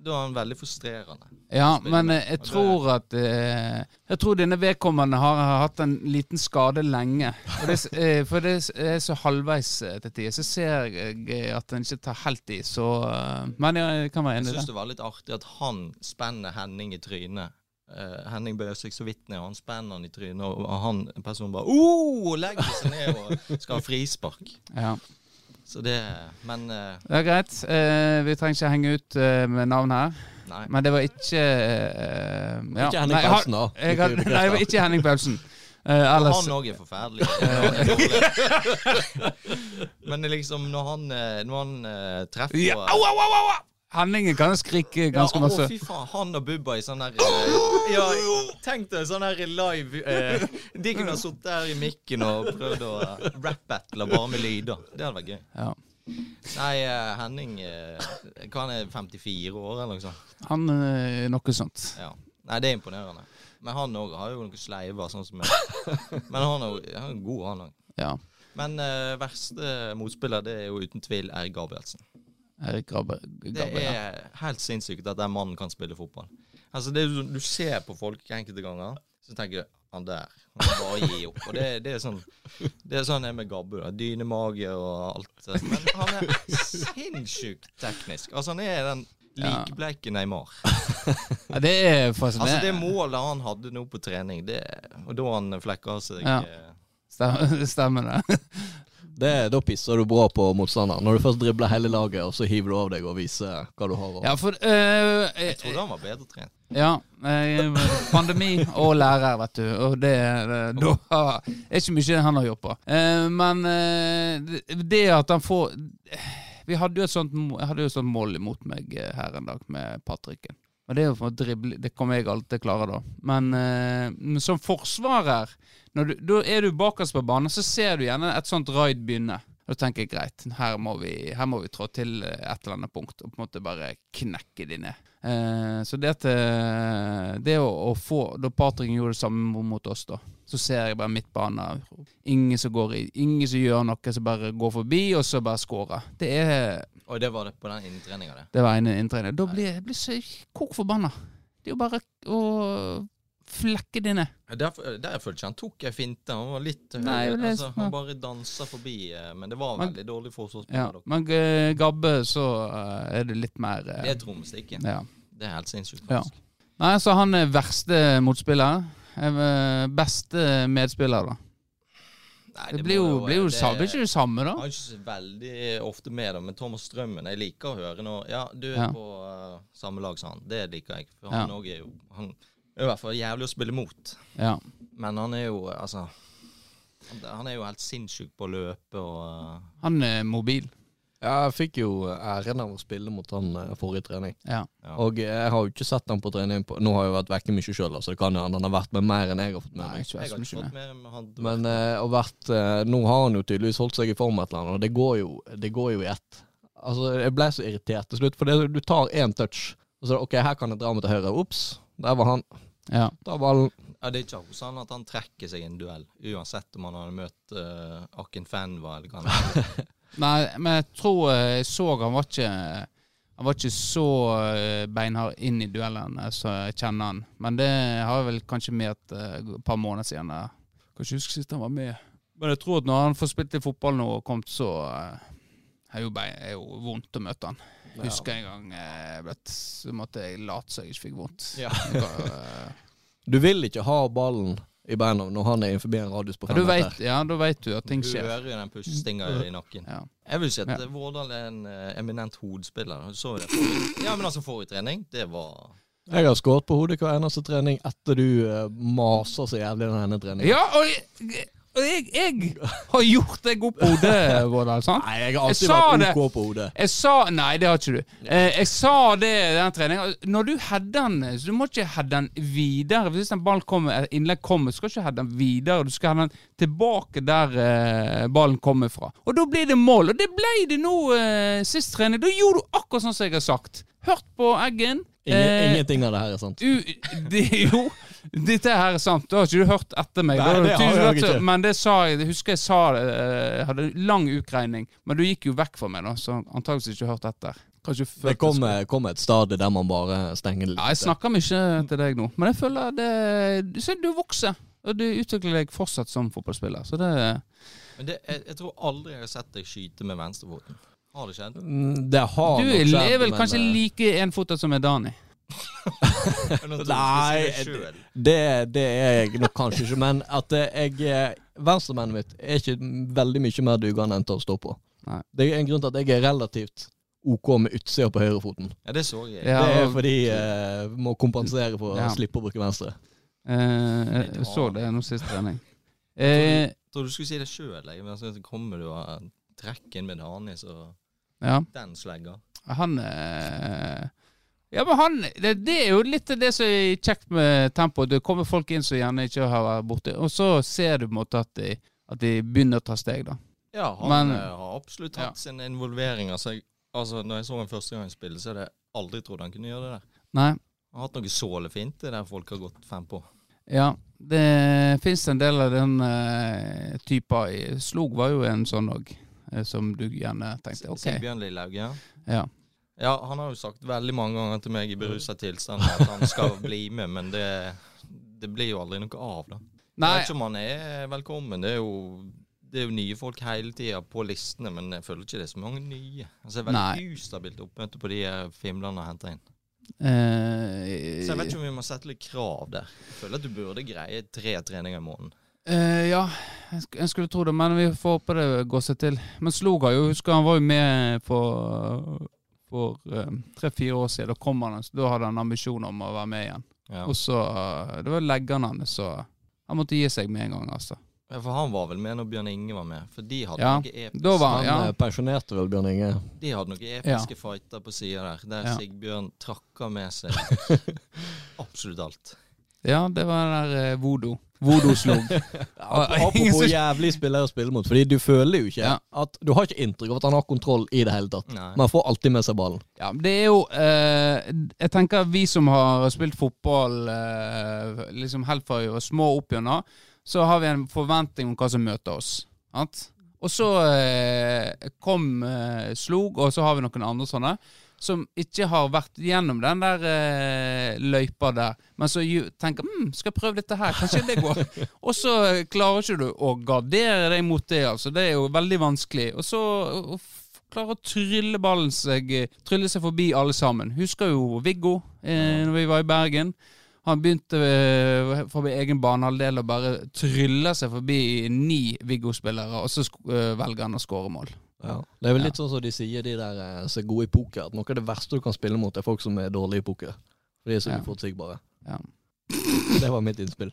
Speaker 3: da er han veldig frustrerende.
Speaker 1: Ja, men eh, jeg tror at eh, Jeg tror denne vedkommende har, har hatt en liten skade lenge. Og det, s- [LAUGHS] eh, for det s- er så halvveis eh, til tider, så ser jeg eh, at en ikke tar helt i, så eh, Men jeg kan være
Speaker 3: Jeg
Speaker 1: enig i det.
Speaker 3: syns det var litt artig at han spenner Henning i trynet. Eh, Henning bøyer seg så vidt ned, og han spenner han i trynet, og og han personen bare oh, legger seg ned og skal ha frispark.
Speaker 1: Ja.
Speaker 3: Så det Men eh,
Speaker 1: Det er greit. Eh, vi trenger ikke henge ut eh, med navn her.
Speaker 3: nei.
Speaker 1: Men det var ikke eh, ja.
Speaker 2: Ikke Henning
Speaker 1: Nei, jeg har-
Speaker 2: Paulsen, da.
Speaker 1: jeg har-
Speaker 2: Ikke
Speaker 1: Nei, det var ikke Henning
Speaker 3: [LAUGHS]
Speaker 1: Paulsen. Eh, ellers
Speaker 3: Han òg er forferdelig. Når han er dårlig. Men det er liksom, når han, eh, når han eh, treffer
Speaker 1: ja. Au, au, au, au! au! Henningen kan skrike ganske
Speaker 3: Ja, Å,
Speaker 1: masse.
Speaker 3: fy faen. Han og Bubba i sånn der eh, Ja, tenk deg sånn her live eh, De kunne ha sittet her i mikken og prøvd å eh, rap-battle bare med lyder. Det hadde vært gøy.
Speaker 1: Ja.
Speaker 3: Nei, eh, Henning eh, Hva han er 54 år, eller noe sånt?
Speaker 1: Han eh, noe sånt.
Speaker 3: Ja. Nei, det er imponerende. Men han òg har jo noen sleiver, sånn som jeg. [LAUGHS] Men han er, jo- han er god, han òg.
Speaker 1: Ja.
Speaker 3: Men eh, verste motspiller, det er jo uten tvil Erik Gabrielsen.
Speaker 1: Erik Grabbe.
Speaker 3: Det
Speaker 1: Grabbe ja.
Speaker 3: er helt sinnssykt at den mannen kan spille fotball. Altså, det er jo sånn- Du ser på folk enkelte ganger, så tenker du han der. Han kan bare gi opp. Og det, det er sånn Det er sånn jeg er med Gabbe. da. Dynemage og alt. det. Men han er sinnssykt teknisk. Altså, han er den
Speaker 1: Ja.
Speaker 3: likbleike Neymar.
Speaker 1: Ja, det er
Speaker 3: Altså,
Speaker 1: fascinerende.
Speaker 3: det målet han hadde nå på trening, det Og da han flekka seg
Speaker 1: Ja.
Speaker 3: eh,
Speaker 1: Stem- Stemmer
Speaker 3: [LAUGHS]
Speaker 1: det.
Speaker 2: Det, da pisser du bra på motstanderen. Når du først dribler hele laget, og så hiver du av deg og viser hva du har.
Speaker 1: Ja, for eh, eh,
Speaker 3: Jeg trodde han var bedre trent.
Speaker 1: Ja. eh, Pandemi og lærer, vet du. Og det, det da har- er ikke mye han har gjort på. Eh, Men eh, det- det at han får Vi hadde jo et sånt, mo- jeg hadde jo et sånt mål imot meg eh, her en dag med Patricken. Og det er jo for å drible Det kommer jeg alltid til å klare, da. Men, eh, men som forsvarer når du, Da er du bakerst på banen, så ser du gjerne et sånt raid begynne. Da tenker jeg greit, her må vi, her må vi trå til eh, et eller annet punkt og på en måte bare knekke de ned. Eh, så det at eh, Det å, å få Da Patrick gjorde det samme mot oss, da, så ser jeg bare midtbanen. Ingen som går i Ingen som gjør noe, som bare går forbi, og så bare scorer. Det er
Speaker 3: Og det var det på den innetreninga, det.
Speaker 1: det var en inntrening. Da blir jeg blir så kok forbanna. Det er jo bare å flekke det ned.
Speaker 3: Ja, Derfor, der jeg følte ikke han tok ei finte. Han var litt høy.
Speaker 1: Nei, det er
Speaker 3: altså,
Speaker 1: sånn.
Speaker 3: han bare dansa forbi, eh, men det var
Speaker 1: Men-
Speaker 3: veldig dårlig forsvarsspill.
Speaker 1: Ja.
Speaker 3: av dere.
Speaker 1: Men eh, Gabbe, så eh, er det litt mer eh,
Speaker 3: Det er et trommestikke.
Speaker 1: ja.
Speaker 3: Det er helt sinnssykt,
Speaker 1: Ja.
Speaker 3: faktisk.
Speaker 1: Nei, så han er verste motspiller. Eh, Beste medspiller, da.
Speaker 3: Nei,
Speaker 1: Det
Speaker 3: må
Speaker 1: blir jo, blir jo
Speaker 3: det-
Speaker 1: sa- blir ikke det samme, da.
Speaker 3: Han er ikke så veldig ofte med, da, men Thomas Strømmen Jeg liker å høre når Ja, du er
Speaker 1: Ja.
Speaker 3: på eh, samme lag som han. Det liker jeg. For
Speaker 1: Ja.
Speaker 3: han òg er jo Han er i hvert fall jævlig å spille mot.
Speaker 1: Ja.
Speaker 3: Men han er jo eh, Altså han- Han er jo helt sinnssyk på å løpe og eh,
Speaker 1: Han er mobil.
Speaker 2: jeg fikk jo æren av å spille mot han eh, forrige trening.
Speaker 1: Ja.
Speaker 3: Ja.
Speaker 2: Og jeg har jo ikke sett han på trening på Nå har jeg jo vært vekke mye sjøl, så det kan jo hende han har vært med mer enn jeg har fått med
Speaker 1: Nei,
Speaker 2: meg.
Speaker 1: ikke
Speaker 3: Jeg
Speaker 1: verst
Speaker 3: har ikke
Speaker 1: mye.
Speaker 3: fått med meg han
Speaker 2: Men eh, og vært eh, Nå har han jo tydeligvis holdt seg i form et eller annet, og det går jo, det går jo i ett. Altså, jeg ble så irritert til slutt, for det, du tar én touch, og så er det OK, her kan jeg dra meg til høyre. Ops, der var han.
Speaker 1: Ja.
Speaker 2: Ta ballen.
Speaker 3: Ja, Det er ikke hos han at han trekker seg i en duell, uansett om han hadde møtt uh, Akin Fenwa eller hva. han-
Speaker 1: Nei, men jeg tror eh, jeg så han var ikke Han var ikke så eh, beinhard inn i duellen eh, så jeg kjenner han. Men det har jeg vel kanskje med et eh, par måneder siden. eh. Kanskje jeg husker sist han var med. Men jeg tror at når han får spilt i fotball nå og kommet, så eh, er jo, bein, er jo vondt å møte han. Jeg Husker en gang eh, vet, så måtte jeg late som jeg ikke fikk vondt.
Speaker 2: Ja.
Speaker 1: Det var,
Speaker 3: [LAUGHS]
Speaker 1: eh,
Speaker 2: Du vil ikke ha ballen i beina når han er forbi en radius på
Speaker 1: ja, da
Speaker 2: fem meter.
Speaker 1: vet, ja, da vet du at ting
Speaker 3: Du
Speaker 1: skjer.
Speaker 3: hører jo den pushestinga i nakken.
Speaker 1: Ja.
Speaker 3: Jeg vil si at
Speaker 1: Ja.
Speaker 3: Vårdal er en eh, eminent hodespiller. Du Så jo det forrige- ja, men altså forrige trening, det var
Speaker 2: Jeg har skåret på hodet hver eneste trening etter du eh, maser så jævlig den ene treningen.
Speaker 1: Ja, og jeg, og jeg, jeg har gjort deg opp hodet, Vårdal. sant?
Speaker 2: Nei, jeg har
Speaker 1: Jeg
Speaker 2: alltid
Speaker 1: sa
Speaker 2: vært
Speaker 1: det.
Speaker 2: OK på hodet.
Speaker 1: Jeg sa Nei, det har ikke du. Eh, jeg sa det i den treningen. Når du header den, så du må ikke heade den videre. Hvis en ball kommer, eller innlegg kommer, så skal du ikke heade den videre. Du skal heade den tilbake der eh, ballen kommer fra. Og da blir det mål. Og det ble det nå eh, sist trening. Da gjorde du akkurat sånn som jeg har sagt. Hørt på Eggen.
Speaker 2: Ingen,
Speaker 1: Eh,
Speaker 2: ingenting av det her er sant.
Speaker 1: U det, jo, dette her er sant. Det har ikke du hørt etter meg.
Speaker 2: Nei, det har
Speaker 1: Tusen
Speaker 2: jeg
Speaker 1: takk,
Speaker 2: ikke.
Speaker 1: Men det sa jeg, det husker jeg sa det. eh, Jeg hadde lang utregning, men du gikk jo vekk fra meg, da, så antakeligvis ikke hørt etter. Kanskje
Speaker 2: Det kom, kom et stadie der man bare stenger litt.
Speaker 1: Ja, jeg snakker mye til deg nå, men jeg føler det Du ser du vokser, og du utvikler deg fortsatt som fotballspiller, så det
Speaker 3: Men det, jeg, jeg tror aldri jeg har sett deg skyte med venstrefoten. Har det skjedd?
Speaker 2: Mm, Det har
Speaker 1: Du
Speaker 2: nok
Speaker 1: er,
Speaker 2: skjedd,
Speaker 1: er vel
Speaker 2: men,
Speaker 1: kanskje
Speaker 2: eh,
Speaker 1: like enfotet som er Dani.
Speaker 2: Nei,
Speaker 3: det,
Speaker 2: det, det er jeg nok kanskje ikke, men at eh, jeg eh, Venstrebenet mitt er ikke veldig mye mer dugende enn til å stå på.
Speaker 1: Nei.
Speaker 2: Det er en grunn til at jeg er relativt OK med utsida på høyrefoten.
Speaker 3: ja, det så jeg.
Speaker 1: Ja,
Speaker 2: det er
Speaker 1: og-
Speaker 2: fordi eh, vi må kompensere for
Speaker 1: Ja.
Speaker 2: å slippe å bruke venstre.
Speaker 1: Eh, jeg så det nå sist trening. Eh,
Speaker 3: Jeg tror du skulle si det sjøl, men altså, så kommer du og trekker inn med Hanis og
Speaker 1: ja.
Speaker 3: den slegger.
Speaker 1: Han eh, Ja, men han det, det er jo litt det som er kjekt med tempo. Det kommer folk inn som gjerne ikke har vært borte, og så ser du på en måte at de, at de begynner å ta steg, da.
Speaker 3: Ja, han
Speaker 1: Men-
Speaker 3: eh, har absolutt hatt sin involvering. Altså, jeg, altså, når jeg så han første gang spille, så hadde jeg aldri trodd han kunne gjøre det der.
Speaker 1: Nei.
Speaker 3: Han har hatt noe sålefint det der folk har gått fem på.
Speaker 1: Ja, det fins en del av den eh, typer. i- Slog var jo en sånn òg, som du gjerne tenkte
Speaker 3: Okay.
Speaker 1: OK.
Speaker 3: Sigbjørn Lillehaug, ja.
Speaker 1: Ja.
Speaker 3: Ja, han har jo sagt veldig mange ganger til meg i berusa tilstand at han
Speaker 1: [LAUGHS]
Speaker 3: skal bli med, men det, det blir jo aldri noe av, da. Jeg
Speaker 1: Nei,
Speaker 3: vet ikke om han er velkommen. Det er jo, det er jo nye folk hele tida på listene, men jeg føler ikke det er så mange nye. Altså, det er veldig ustabilt oppmøte på de eh, her Fimlene har henta inn. Så jeg vet
Speaker 1: eh,
Speaker 3: ikke om vi må sette litt krav der. Jeg føler at du burde greie tre treninger i måneden.
Speaker 1: eh, Ja, jeg sk- jeg skulle tro det, men vi får håpe det går seg til. Men Slog har jo husker han var jo med for for eh, tre-fire år siden. Da kom han, så da hadde han ambisjon om å være med igjen.
Speaker 3: Ja.
Speaker 1: Og så eh, Det var leggene hans, så han måtte gi seg med en gang, altså.
Speaker 3: For han var vel med når Bjørn Inge var med, for de hadde
Speaker 1: Ja,
Speaker 3: noe episk.
Speaker 1: Da var
Speaker 2: Han
Speaker 1: han Ja.
Speaker 2: eh, pensjonerte vel Bjørn Inge.
Speaker 3: De hadde noen episke fighter på sida der, der
Speaker 1: Ja.
Speaker 3: Sigbjørn trakka med seg absolutt alt.
Speaker 1: Ja, det var den der eh, voodoo. Voodoo-slog. [LAUGHS]
Speaker 2: Ap-
Speaker 1: ingen
Speaker 2: Apropos
Speaker 1: [LAUGHS] som-
Speaker 2: jævlig spillere å spille mot, fordi du føler jo ikke
Speaker 1: Ja.
Speaker 2: at Du har ikke inntrykk av at han har kontroll i det hele tatt.
Speaker 3: Nei.
Speaker 2: Men han får alltid med seg ballen.
Speaker 1: Ja, men det er jo eh, Jeg tenker vi som har spilt fotball eh, liksom helt fra vi var små opp gjennom, så har vi en forventning om hva som møter oss. Sant? Og så eh, kom eh, Slog, og så har vi noen andre sånne. Som ikke har vært gjennom den der eh, løypa der, men så ju- tenker hm, 'skal jeg prøve dette her', kanskje det går. og så klarer ikke du å gardere deg mot det, altså. Det er jo veldig vanskelig. Og så f- klarer å trylle ballen seg Trylle seg forbi alle sammen. Husker jo Viggo eh, når vi var i Bergen. Han begynte eh, fra min egen banehalvdel å bare trylle seg forbi ni Viggo-spillere, og så sk- eh, velger han å skåre mål.
Speaker 2: Det er vel litt sånn som de sier, de der eh, som er gode i poker, at noe av det verste du kan spille mot, er folk som er dårlige i poker. For de er så
Speaker 1: Ja.
Speaker 2: uforutsigbare.
Speaker 1: Ja.
Speaker 2: [LAUGHS] Det var mitt innspill.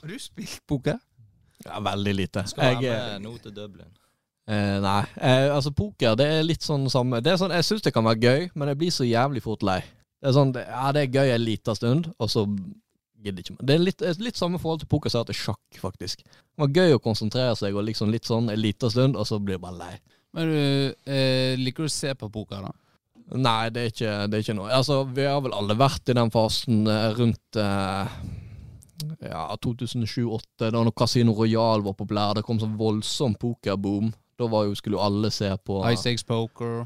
Speaker 1: Har du spilt poker?
Speaker 2: Ja, veldig lite.
Speaker 3: Skal
Speaker 2: Jeg,
Speaker 3: være
Speaker 2: eh,
Speaker 3: med nå til Dublin.
Speaker 2: Eh, nei, eh, altså poker det er litt sånn samme Det er sånn, Jeg syns det kan være gøy, men jeg blir så jævlig fort lei. Det er sånn, det, ja det er gøy en liten stund, og så gidder jeg ikke mer. Det er litt, eh, litt samme forhold til poker som jeg har til sjakk, faktisk. Det var gøy å konsentrere seg og liksom litt sånn en liten stund, og så blir jeg bare lei.
Speaker 1: Men du eh, liker du å se på poker, da?
Speaker 2: Nei, det er ikke, det er ikke noe. Altså, Vi har vel alle vært i den fasen eh, rundt eh, ja, 2007-2008, da når Casino Royal var populær. Det kom sånn voldsom pokerboom. Da var jo, skulle jo alle se på
Speaker 1: Ice Eggs Poker,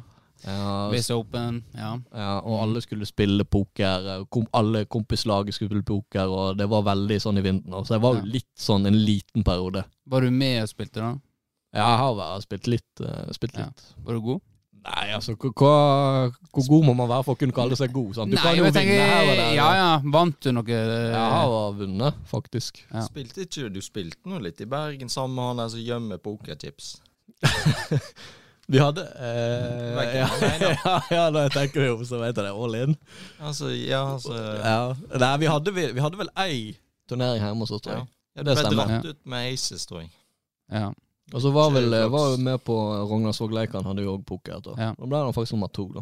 Speaker 2: ja,
Speaker 1: Viss Open, ja.
Speaker 2: Ja, og alle skulle spille poker. Kom, alle kompislaget skulle spille poker, og det var veldig sånn i vinden. Så jeg var jo
Speaker 1: Ja.
Speaker 2: litt sånn en liten periode.
Speaker 1: Var du med og spilte, da?
Speaker 2: Ja, Jeg har vært, spilt litt. eh, spilt
Speaker 1: Ja.
Speaker 2: litt.
Speaker 1: Var du god?
Speaker 2: Nei, altså, hvor- hva, hvor god må man være for å kunne kalle seg god? Sant? Du kan jo
Speaker 1: men
Speaker 2: vinne
Speaker 1: jeg tenker-
Speaker 2: her og der.
Speaker 1: Ja ja, vant du noe? eh,
Speaker 2: Jeg har vunnet, faktisk.
Speaker 1: Ja.
Speaker 3: Spilte ikke du spilte nå litt i Bergen sammen med han der som gjemmer pokerchips?
Speaker 2: Vi hadde eh, ja, [LAUGHS] ja, ja, når jeg tenker det over, så vet jeg det. All in.
Speaker 3: Altså, ja, altså
Speaker 1: eh.
Speaker 2: Ja. Nei, vi hadde, vi, vi hadde vel ei turnering hjemme hos oss, tror jeg.
Speaker 3: Ja, ja du
Speaker 2: det
Speaker 3: ble
Speaker 2: stemmer.
Speaker 3: dratt ut med aces, tror jeg.
Speaker 1: ja.
Speaker 2: Og så var vel eh,
Speaker 3: Kjører
Speaker 2: var jo
Speaker 3: flaks.
Speaker 2: med på Rognarsvåg-leiken, hadde jo òg poker. Da.
Speaker 1: Ja.
Speaker 2: da ble han faktisk nummer to, da.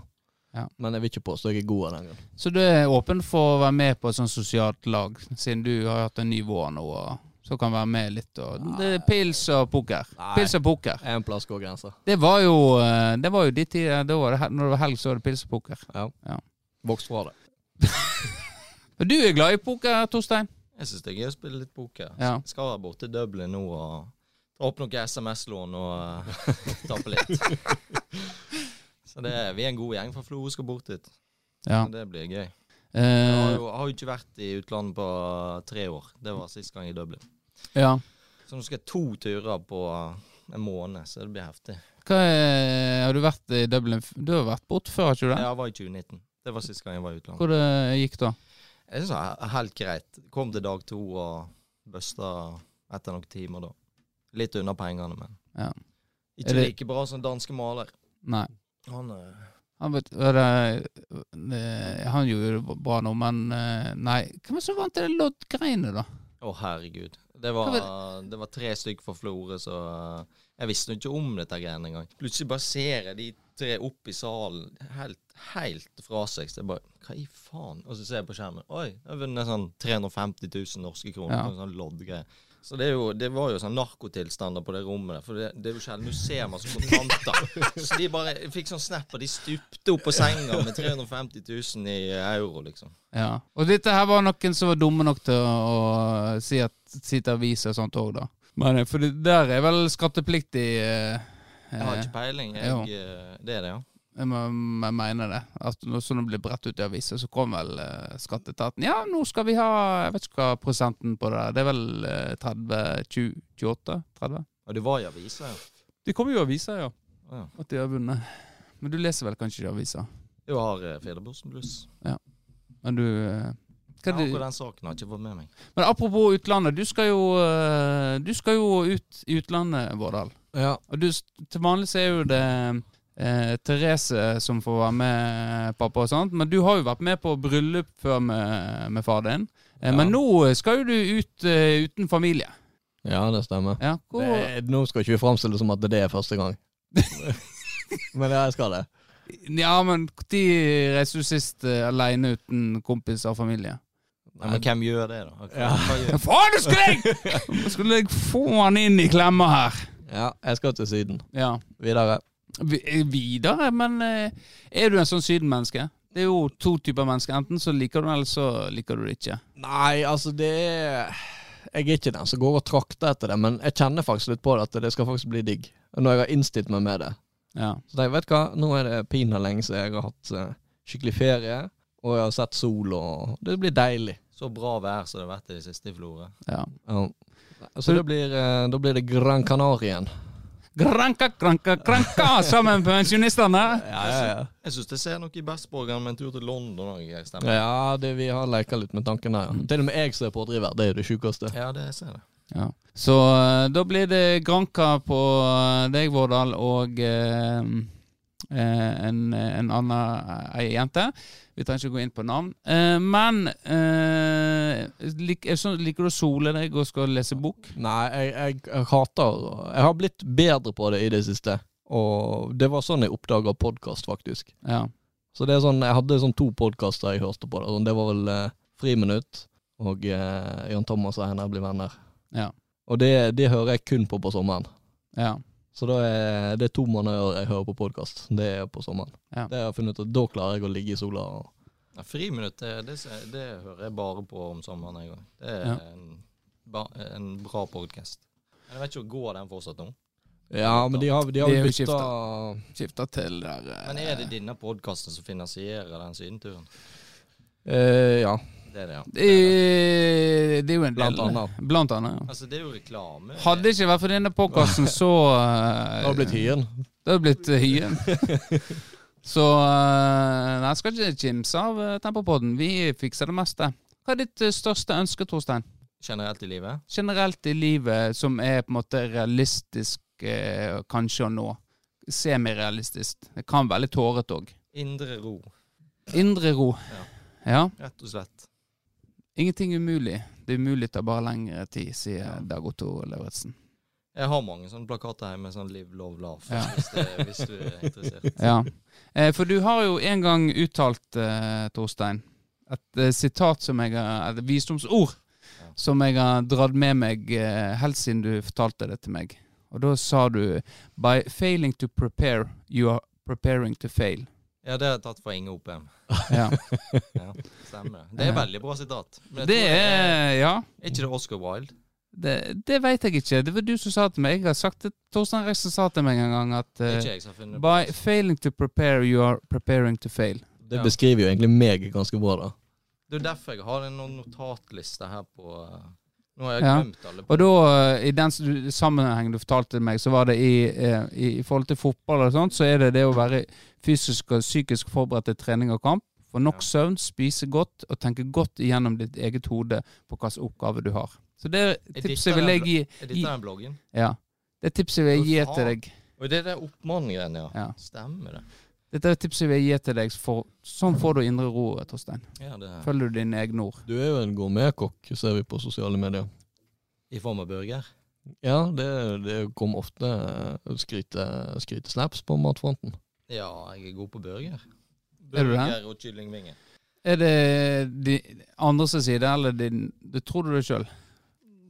Speaker 1: Ja.
Speaker 2: Men jeg vil ikke påstå jeg er god av den grunn.
Speaker 1: Så du er åpen for å være med på et sånt sosialt lag, siden du har hatt en ny vår nå? Og så kan være med litt og Det er pils og poker.
Speaker 2: Nei.
Speaker 1: Pils og poker.
Speaker 2: En plass går grensa.
Speaker 1: Det var jo, eh, det var jo de tider da var det, hel- Når det var helg, så var det pils og poker.
Speaker 2: Vokst fra det.
Speaker 1: Men du er glad i poker, Torstein?
Speaker 3: Jeg syns det er gøy å spille litt poker.
Speaker 1: Ja.
Speaker 3: Skal være borte i Dublin nå og ta opp noen SMS-lån og [LAUGHS] uh, tappe litt.
Speaker 1: [LAUGHS]
Speaker 3: Så det, vi er en god gjeng fra Florø skal bort dit.
Speaker 1: Ja.
Speaker 3: Så Det blir gøy. Jeg har
Speaker 1: Eh,
Speaker 3: jo, har jo ikke vært i utlandet på tre år. Det var sist gang i Dublin.
Speaker 1: ja.
Speaker 3: Så nå skal jeg to turer på eh, en måned, så det blir heftig.
Speaker 1: Hva er, har du vært i Dublin f- Du har vært borte før, har ikke du det?
Speaker 3: Jeg var i 2019. Det var sist gang jeg var i utlandet.
Speaker 1: Hvor det gikk da?
Speaker 3: Jeg syns det er helt greit. Kom til dag to og busta etter noen timer, da. Litt unna pengene, men
Speaker 1: Ja.
Speaker 3: ikke
Speaker 1: Er det-
Speaker 3: like bra som danske maler.
Speaker 1: Nei.
Speaker 3: Han eh,
Speaker 1: Han, vet, var det, eh, han gjorde det bra nå, men eh, nei. Hvem var det som vant det loddgreiene, da?
Speaker 3: Å, herregud. Det
Speaker 1: Hva
Speaker 3: var, det var tre stykker fra Florø, så eh, Jeg visste jo ikke om dette greiene engang. Plutselig bare ser jeg de tre opp i salen, helt, helt fra seg. Så jeg bare Hva i faen? Og så ser jeg på skjermen. Oi, jeg har vunnet sånn 350 000 norske kroner
Speaker 1: Ja.
Speaker 3: på en sånn loddgreie. Så det, er jo, det var jo sånn narkotilstander på det rommet der. For det, det er jo sjelden du ser masse
Speaker 1: [LAUGHS]
Speaker 3: kontanter. Så de bare jeg fikk sånn snap, og de stupte opp på senga med 350 000 i euro, liksom.
Speaker 1: Ja. Og dette her var noen som var dumme nok til å å si, at, si til aviser og sånt òg, da. Men eh, for det der er vel skattepliktig eh,
Speaker 3: Jeg har ikke peiling.
Speaker 1: Jo.
Speaker 3: Jeg, eh, det er det, ja.
Speaker 1: Jeg må- jeg mener det. At når sånne blir bredt ut i aviser, så kom vel eh, skatteetaten. Ja, nå skal vi ha Jeg vet ikke hva prosenten på det er. Det er vel eh, 30 20, 28? 30?
Speaker 3: Og det var i aviser, ja.
Speaker 1: De kommer jo i aviser, ja.
Speaker 3: Å, ja.
Speaker 1: At de har vunnet. Men du leser vel kanskje ikke aviser?
Speaker 3: Jeg har eh, Federborsen Blues.
Speaker 1: Men du eh, hva
Speaker 3: Ja,
Speaker 1: er det-
Speaker 3: akkurat den saken har jeg ikke fått med meg.
Speaker 1: Men apropos utlandet. Du skal jo, eh, du skal jo ut i utlandet, Vårdal.
Speaker 2: Ja.
Speaker 1: Og du, til vanlig så er jo det eh, Therese som får være med, eh, pappa og sånt. Men du har jo vært med på bryllup før med, med far din. Eh, Men nå skal jo du ut eh, uten familie.
Speaker 2: ja, det stemmer.
Speaker 1: Ja, hvor,
Speaker 2: Det, nå skal ikke vi framstille det som at det er
Speaker 1: [LAUGHS]
Speaker 2: første gang. Men ja, jeg skal det.
Speaker 1: ja men når reiste du sist eh, alene uten kompiser og familie?
Speaker 3: Nei, men hvem gjør det, da? Hva,
Speaker 2: Ja.
Speaker 3: hva gjør?
Speaker 1: Faen, du skulle jeg! [LAUGHS] Nå skulle jeg få han inn i klemma her.
Speaker 2: Ja, jeg skal til Syden.
Speaker 1: Ja.
Speaker 2: Videre.
Speaker 1: Vi- eh, Videre, men eh, er du en sånn sydenmenneske? Det er jo to typer mennesker. Enten så liker du det, eller så liker du det ikke.
Speaker 2: Nei, altså det er Jeg er ikke den som går og trakter etter det, men jeg kjenner faktisk litt på det at det skal faktisk bli digg. Når jeg har innstilt meg med det.
Speaker 1: Ja.
Speaker 2: Så jeg vet du hva, nå er det pinadø lenge siden jeg har hatt eh, skikkelig ferie, og jeg har sett sol, og det blir deilig.
Speaker 3: Så bra vær som det har vært i det siste i Florø.
Speaker 1: ja.
Speaker 2: Ja. Så det blir, eh, da blir det Gran Canaria igjen.
Speaker 1: Granka, granka, granka sammen med pensjonistene.
Speaker 2: Ja, ja, ja.
Speaker 3: Jeg syns jeg ser noe i Bestborgen med en tur til London òg. Ja.
Speaker 2: Ja, det, vi har leka litt med tanken der, ja. Til og med jeg som er pådriver. Det er jo det sjukeste.
Speaker 3: ja, det jeg ser jeg.
Speaker 1: Ja. Så eh, da blir det Granka på eh, deg, Vårdal, og eh, eh, en, en annen eh, ei jente. Vi trenger ikke gå inn på navn. Eh, men eh, lik, er det sånn- liker du å sole deg og skal lese bok?
Speaker 2: Nei, jeg, jeg, jeg hater Jeg har blitt bedre på det i det siste. Og det var sånn jeg oppdaga podkast, faktisk.
Speaker 1: Ja.
Speaker 2: Så det er sånn, Jeg hadde sånn to podkaster jeg hørte på. Det, sånn, det var vel eh, Friminutt og eh, Jan Thomas og Henne blir venner.
Speaker 1: Ja.
Speaker 2: Og det, det hører jeg kun på på sommeren.
Speaker 1: ja.
Speaker 2: Så da er det er to måneder jeg hører på podkast. Det er på sommeren.
Speaker 1: Ja.
Speaker 2: Det har jeg funnet ut at Da klarer jeg å ligge i sola. og
Speaker 3: Ja, friminutt, det, det, ser- det hører jeg bare på om sommeren en gang. Det er
Speaker 1: Ja.
Speaker 3: en, ba, en bra podkast. Jeg vet ikke, går den fortsatt nå?
Speaker 2: Ja, men de har, de har
Speaker 1: Det er jo
Speaker 2: bytta
Speaker 1: Skifter til der eh,
Speaker 3: Men er det denne podkasten som finansierer den sydenturen?
Speaker 2: eh, Ja.
Speaker 3: Det er det, ja.
Speaker 1: Eh, Det er jo en del.
Speaker 2: Blant annet.
Speaker 1: Blant annet, ja.
Speaker 3: Altså, det er jo reklame.
Speaker 1: Hadde ikke vært for denne podkasten, så eh,
Speaker 2: Det har blitt hyen.
Speaker 1: Det har blitt eh, hyen. Så eh, nei, jeg skal ikke kimse av eh, Tempopodden. Vi fikser det meste. Hva er ditt eh, største ønske, Torstein?
Speaker 3: Generelt i livet?
Speaker 1: Generelt i livet som er på en måte realistisk eh, kanskje å nå. Semirealistisk. Det kan være litt tårete òg.
Speaker 3: Indre ro,
Speaker 1: Indre ro. Ja.
Speaker 3: rett og slett.
Speaker 1: Ingenting umulig. Det umulige tar bare lengre tid, sier Dag Otto Lauritzen.
Speaker 3: Jeg har mange sånne plakater her med sånn 'Live, love, laugh',
Speaker 1: Ja.
Speaker 3: hvis, det, hvis du er interessert.
Speaker 1: Ja. Eh, For du har jo en gang uttalt, eh, Torstein, et eh, sitat som jeg har Et visdomsord
Speaker 3: Ja.
Speaker 1: som jeg har dratt med meg eh, helt siden du fortalte det til meg. Og da sa du By failing to prepare, you are preparing to fail.
Speaker 3: Ja, det har jeg tatt fra Inge Opheim. [LAUGHS]
Speaker 1: Ja.
Speaker 3: Ja, stemmer det. Det er
Speaker 1: Ja.
Speaker 3: veldig bra sitat. Men jeg
Speaker 1: Det
Speaker 3: tror
Speaker 1: er Ja.
Speaker 3: Er ikke det Oscar Wilde?
Speaker 1: Det, det veit jeg ikke. Det var du som sa det til meg. Jeg har sagt det, Torstein Reisen sa til meg en gang at
Speaker 3: Det
Speaker 1: eh,
Speaker 3: er ikke jeg som har funnet på
Speaker 1: By
Speaker 3: det.
Speaker 1: failing to prepare, you are preparing to fail.
Speaker 2: Det
Speaker 3: Ja.
Speaker 2: beskriver jo egentlig meg ganske bra, da.
Speaker 3: Det er derfor jeg har en notatliste her på eh, Nå har jeg
Speaker 1: Ja.
Speaker 3: glemt alle på
Speaker 1: Og da, eh, i den s- du- sammenhengen du fortalte meg, så var det i, eh, i, i forhold til fotball og sånt, så er det det å være fysisk og psykisk forberedt til trening og kamp. Få nok
Speaker 3: Ja.
Speaker 1: søvn, spise godt og tenke godt gjennom ditt eget hode på hvilken oppgave du har. Så det
Speaker 3: Jeg
Speaker 1: tipset
Speaker 3: dikter
Speaker 1: vil
Speaker 3: den
Speaker 1: jeg gi.
Speaker 3: Er dette den bloggen?
Speaker 1: Ja. Det tipset vil jeg
Speaker 3: Fy
Speaker 1: gi
Speaker 3: faen.
Speaker 1: til deg.
Speaker 3: Og det er det oppmann-greiene, ja.
Speaker 1: Ja.
Speaker 3: Stemmer det.
Speaker 1: Dette er tipset vil jeg gi til deg. For, sånn får du indre ro, Torstein.
Speaker 3: Ja, det er.
Speaker 1: Følger du dine egne ord.
Speaker 2: Du er jo en gourmetkokk, ser vi på sosiale medier.
Speaker 3: I form av burger.
Speaker 2: Ja, det, det kom ofte eh, skryte, skrytesnaps på matfronten.
Speaker 3: Ja, jeg er god på burger.
Speaker 1: Er du det?
Speaker 3: Burger og kyllingvinger.
Speaker 1: Er det de andre som sier det, eller din, du tror du det sjøl?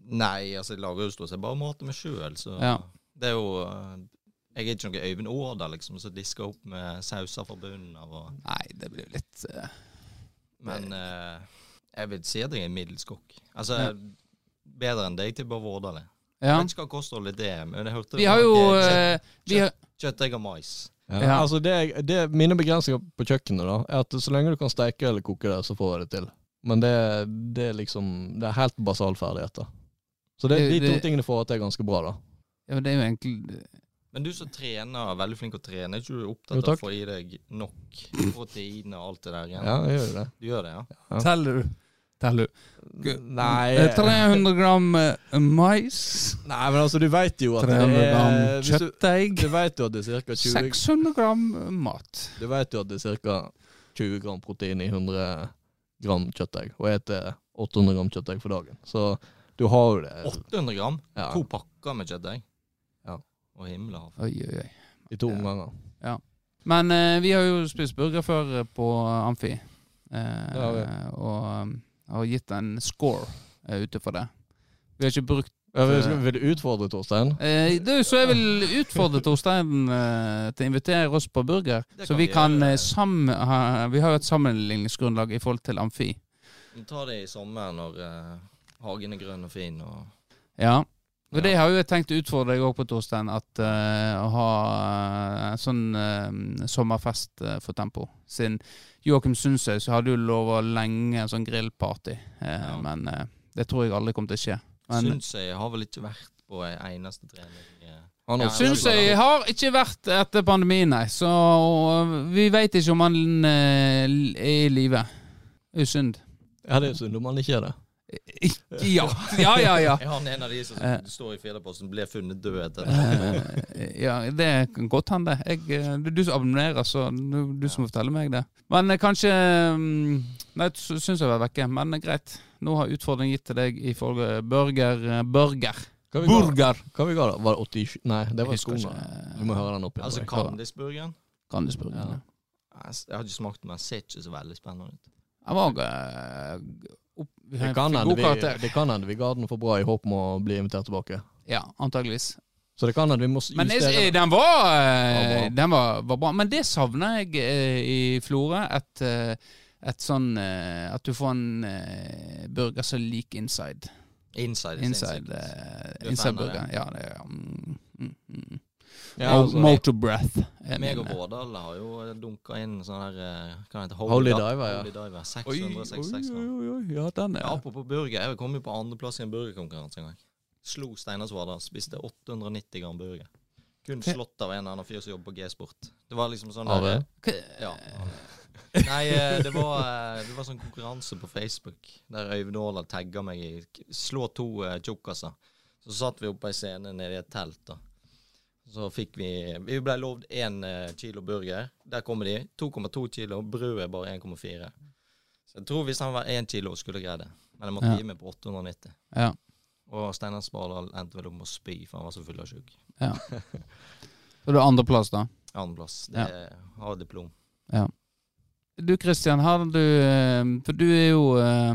Speaker 3: Nei, altså jeg lager jo stort sett bare mat til meg sjøl, så
Speaker 1: Ja.
Speaker 3: det er jo eh, Jeg er ikke noen Øyvind Aarda, liksom, som disker opp med sauser fra bunnen av og
Speaker 1: Nei, det blir litt eh,
Speaker 3: Men eh, jeg vil si at jeg er middels kokk. Altså
Speaker 1: Ja.
Speaker 3: bedre enn deg til Bård Vårdal. jeg.
Speaker 1: Ja.
Speaker 3: Jeg vet ikke hva kostholdet det er, men jeg hørte
Speaker 1: Vi har jo
Speaker 3: noe kjøtt-
Speaker 1: eh, vi har,
Speaker 3: Kjøttdeig og mais.
Speaker 2: Ja.
Speaker 1: Ja.
Speaker 2: Altså det, det, mine begrensninger på kjøkkenet da, er at så lenge du kan steike eller koke det, så får jeg det til. Men det, det er liksom Det er helt basalferdigheter. Så det,
Speaker 1: Det-
Speaker 2: de to
Speaker 1: det-
Speaker 2: tingene får at det er ganske bra, da.
Speaker 1: ja, Det er jo egentlig
Speaker 3: Men du som trener, er veldig flink til å trene, er ikke du
Speaker 2: Jo,
Speaker 3: opptatt av å
Speaker 2: takk.
Speaker 3: få i deg nok protein og alt det der igjen?
Speaker 2: Ja, jeg gjør jo det.
Speaker 3: Du gjør det, ja?
Speaker 2: Ja.
Speaker 1: Teller du? Teller du? Eh,
Speaker 2: Nei,
Speaker 1: 300 gram eh, mais.
Speaker 2: nei men altså, du veit jo at det
Speaker 1: 300 gram
Speaker 2: er hvis du,
Speaker 1: kjøttdeig.
Speaker 2: du vet jo at det er ca. 20
Speaker 1: 600 gram eh, mat.
Speaker 2: Du vet jo at det er ca. 20 gram protein i 100 gram kjøttdeig, og jeg spiser 800 gram kjøttdeig for dagen. Så du har jo det.
Speaker 3: 800 gram?
Speaker 2: Ja,
Speaker 3: To pakker med kjøttdeig?
Speaker 2: Ja.
Speaker 3: Og himla hav.
Speaker 1: Oi, oi, oi.
Speaker 2: I to omganger.
Speaker 1: Men eh, vi har jo spist burger før eh, på Amfi. Eh,
Speaker 2: Det har vi.
Speaker 1: og um, har gitt en score eh, ute for det. Vi har ikke brukt
Speaker 2: Ja, Vil skal- vil du utfordre, Torstein?
Speaker 1: eh, du, Så jeg vil utfordre Torstein eh, til å invitere oss på burger.
Speaker 3: Det
Speaker 1: Så
Speaker 3: kan
Speaker 1: vi
Speaker 3: vi
Speaker 1: kan
Speaker 3: gjøre.
Speaker 1: eh, sam... Ha, vi har jo et sammenligningsgrunnlag i forhold til Amfi.
Speaker 3: Vi tar det i sommer når eh, hagen er grønn og fin og
Speaker 1: Ja. Og
Speaker 3: Ja.
Speaker 1: det har jo jeg tenkt å utfordre deg òg på, Torstein. At eh, å ha eh, en sånn eh, sommerfest eh, for Tempo. Siden Joakim Sundsøy så hadde jo lova lenge en sånn grillparty. eh,
Speaker 3: Ja.
Speaker 1: Men eh, det tror jeg aldri kommer til å skje. Men
Speaker 3: Syns jeg har vel ikke vært på ei eneste trening. eh.
Speaker 2: Han har
Speaker 3: Ja,
Speaker 2: også-
Speaker 1: Sundsøy har ikke vært etter pandemien, nei. Så og vi veit ikke om han eh, er i live. Det er jo
Speaker 2: [LAUGHS]
Speaker 1: synd.
Speaker 2: Ja, det er jo synd om han ikke er det.
Speaker 1: Ikke ja. Ja, ja, ja.
Speaker 3: Er han en av de som
Speaker 1: Eh.
Speaker 3: står i Fjellerposten, blir funnet død etter det?
Speaker 1: Eh, ja, det kan godt hende. Jeg, eh, det er du som abonnerer, så du, du som forteller meg det. Men eh, kanskje mm, Nei, jeg syns jeg var vekke, men eh, greit. Nå har utfordringen gitt til deg i forrige burger. eh, Burger.
Speaker 2: Hva vi ga,
Speaker 1: Burger.
Speaker 2: hva vi ga da? Var det 87? Nei, det var
Speaker 1: Jeg husker
Speaker 2: skoene.
Speaker 1: ikke, eh,
Speaker 2: Du må høre den opp igjen.
Speaker 3: Altså
Speaker 2: Erik.
Speaker 3: Kandisburgeren?
Speaker 1: Kan du spørre?
Speaker 2: Ja.
Speaker 1: Ja.
Speaker 3: Jeg s- jeg har ikke smakt den, men den ser ikke så veldig spennende ut.
Speaker 1: Jeg var eh, opp, vi
Speaker 2: det
Speaker 1: fikk
Speaker 2: kan hende
Speaker 1: god
Speaker 2: vi,
Speaker 1: karakter.
Speaker 2: det kan hende vi ga den for bra i håp om å bli invitert tilbake.
Speaker 1: Ja, antageligvis.
Speaker 2: Så det kan hende vi må
Speaker 1: Men jeg,
Speaker 2: justere
Speaker 1: jeg-
Speaker 2: det.
Speaker 1: den var, eh,
Speaker 2: Ja, bra.
Speaker 1: den var, var bra. Men det savner jeg eh, i Florø. Et, eh, et sånn eh, At du får en eh, burger som er lik inside.
Speaker 3: Inside. is
Speaker 1: Inside,
Speaker 3: inside. Du
Speaker 1: eh,
Speaker 3: er
Speaker 1: inside
Speaker 3: fan av
Speaker 1: burger. Ja, det er mm, mm, mm.
Speaker 2: Ja,
Speaker 1: Mo-
Speaker 2: altså,
Speaker 1: Motor breath. er
Speaker 3: Meg og
Speaker 1: min, eh.
Speaker 3: Vårdal har jo dunka inn sånn her eh, Hva heter det?
Speaker 2: Holy
Speaker 3: Di-
Speaker 2: Diver, ja.
Speaker 3: Holy Diver.
Speaker 1: Oi,
Speaker 3: 666
Speaker 1: oi,
Speaker 3: kroner.
Speaker 1: oi, oi, ja, den
Speaker 3: Ja,
Speaker 1: er
Speaker 3: apropos burger, jeg kom jo på andreplass i en burgerkonkurranse en gang. Slo Steinar Svardal. Spiste 890 gram burger. Kun
Speaker 1: Hva-
Speaker 3: slått av en eller annen fyr som jobber på G-sport. Det var liksom sånn
Speaker 2: Are?
Speaker 1: K-
Speaker 3: Ja. Nei, eh, det var, eh, det var sånn konkurranse på Facebook der Øyvind Aardal tagga meg i k- Slå to eh, tjukkaser. Så satt vi oppe på ei scene nede i et telt, da. Så fikk vi Vi ble lovd én kilo burger. Der kommer de. 2,2 kilo. Brødet er bare 1,4. Så jeg tror hvis han var én kilo, skulle jeg greie det. Men jeg måtte
Speaker 1: Ja.
Speaker 3: gi meg på 890.
Speaker 1: Ja.
Speaker 3: Og Steinar Spardal endte vel opp med å spy, for han var så full av sjuk.
Speaker 1: Så det er andreplass, da.
Speaker 3: Annenplass. Det
Speaker 1: Ja.
Speaker 3: har diplom.
Speaker 1: Du Christian, har du eh, For du er jo eh,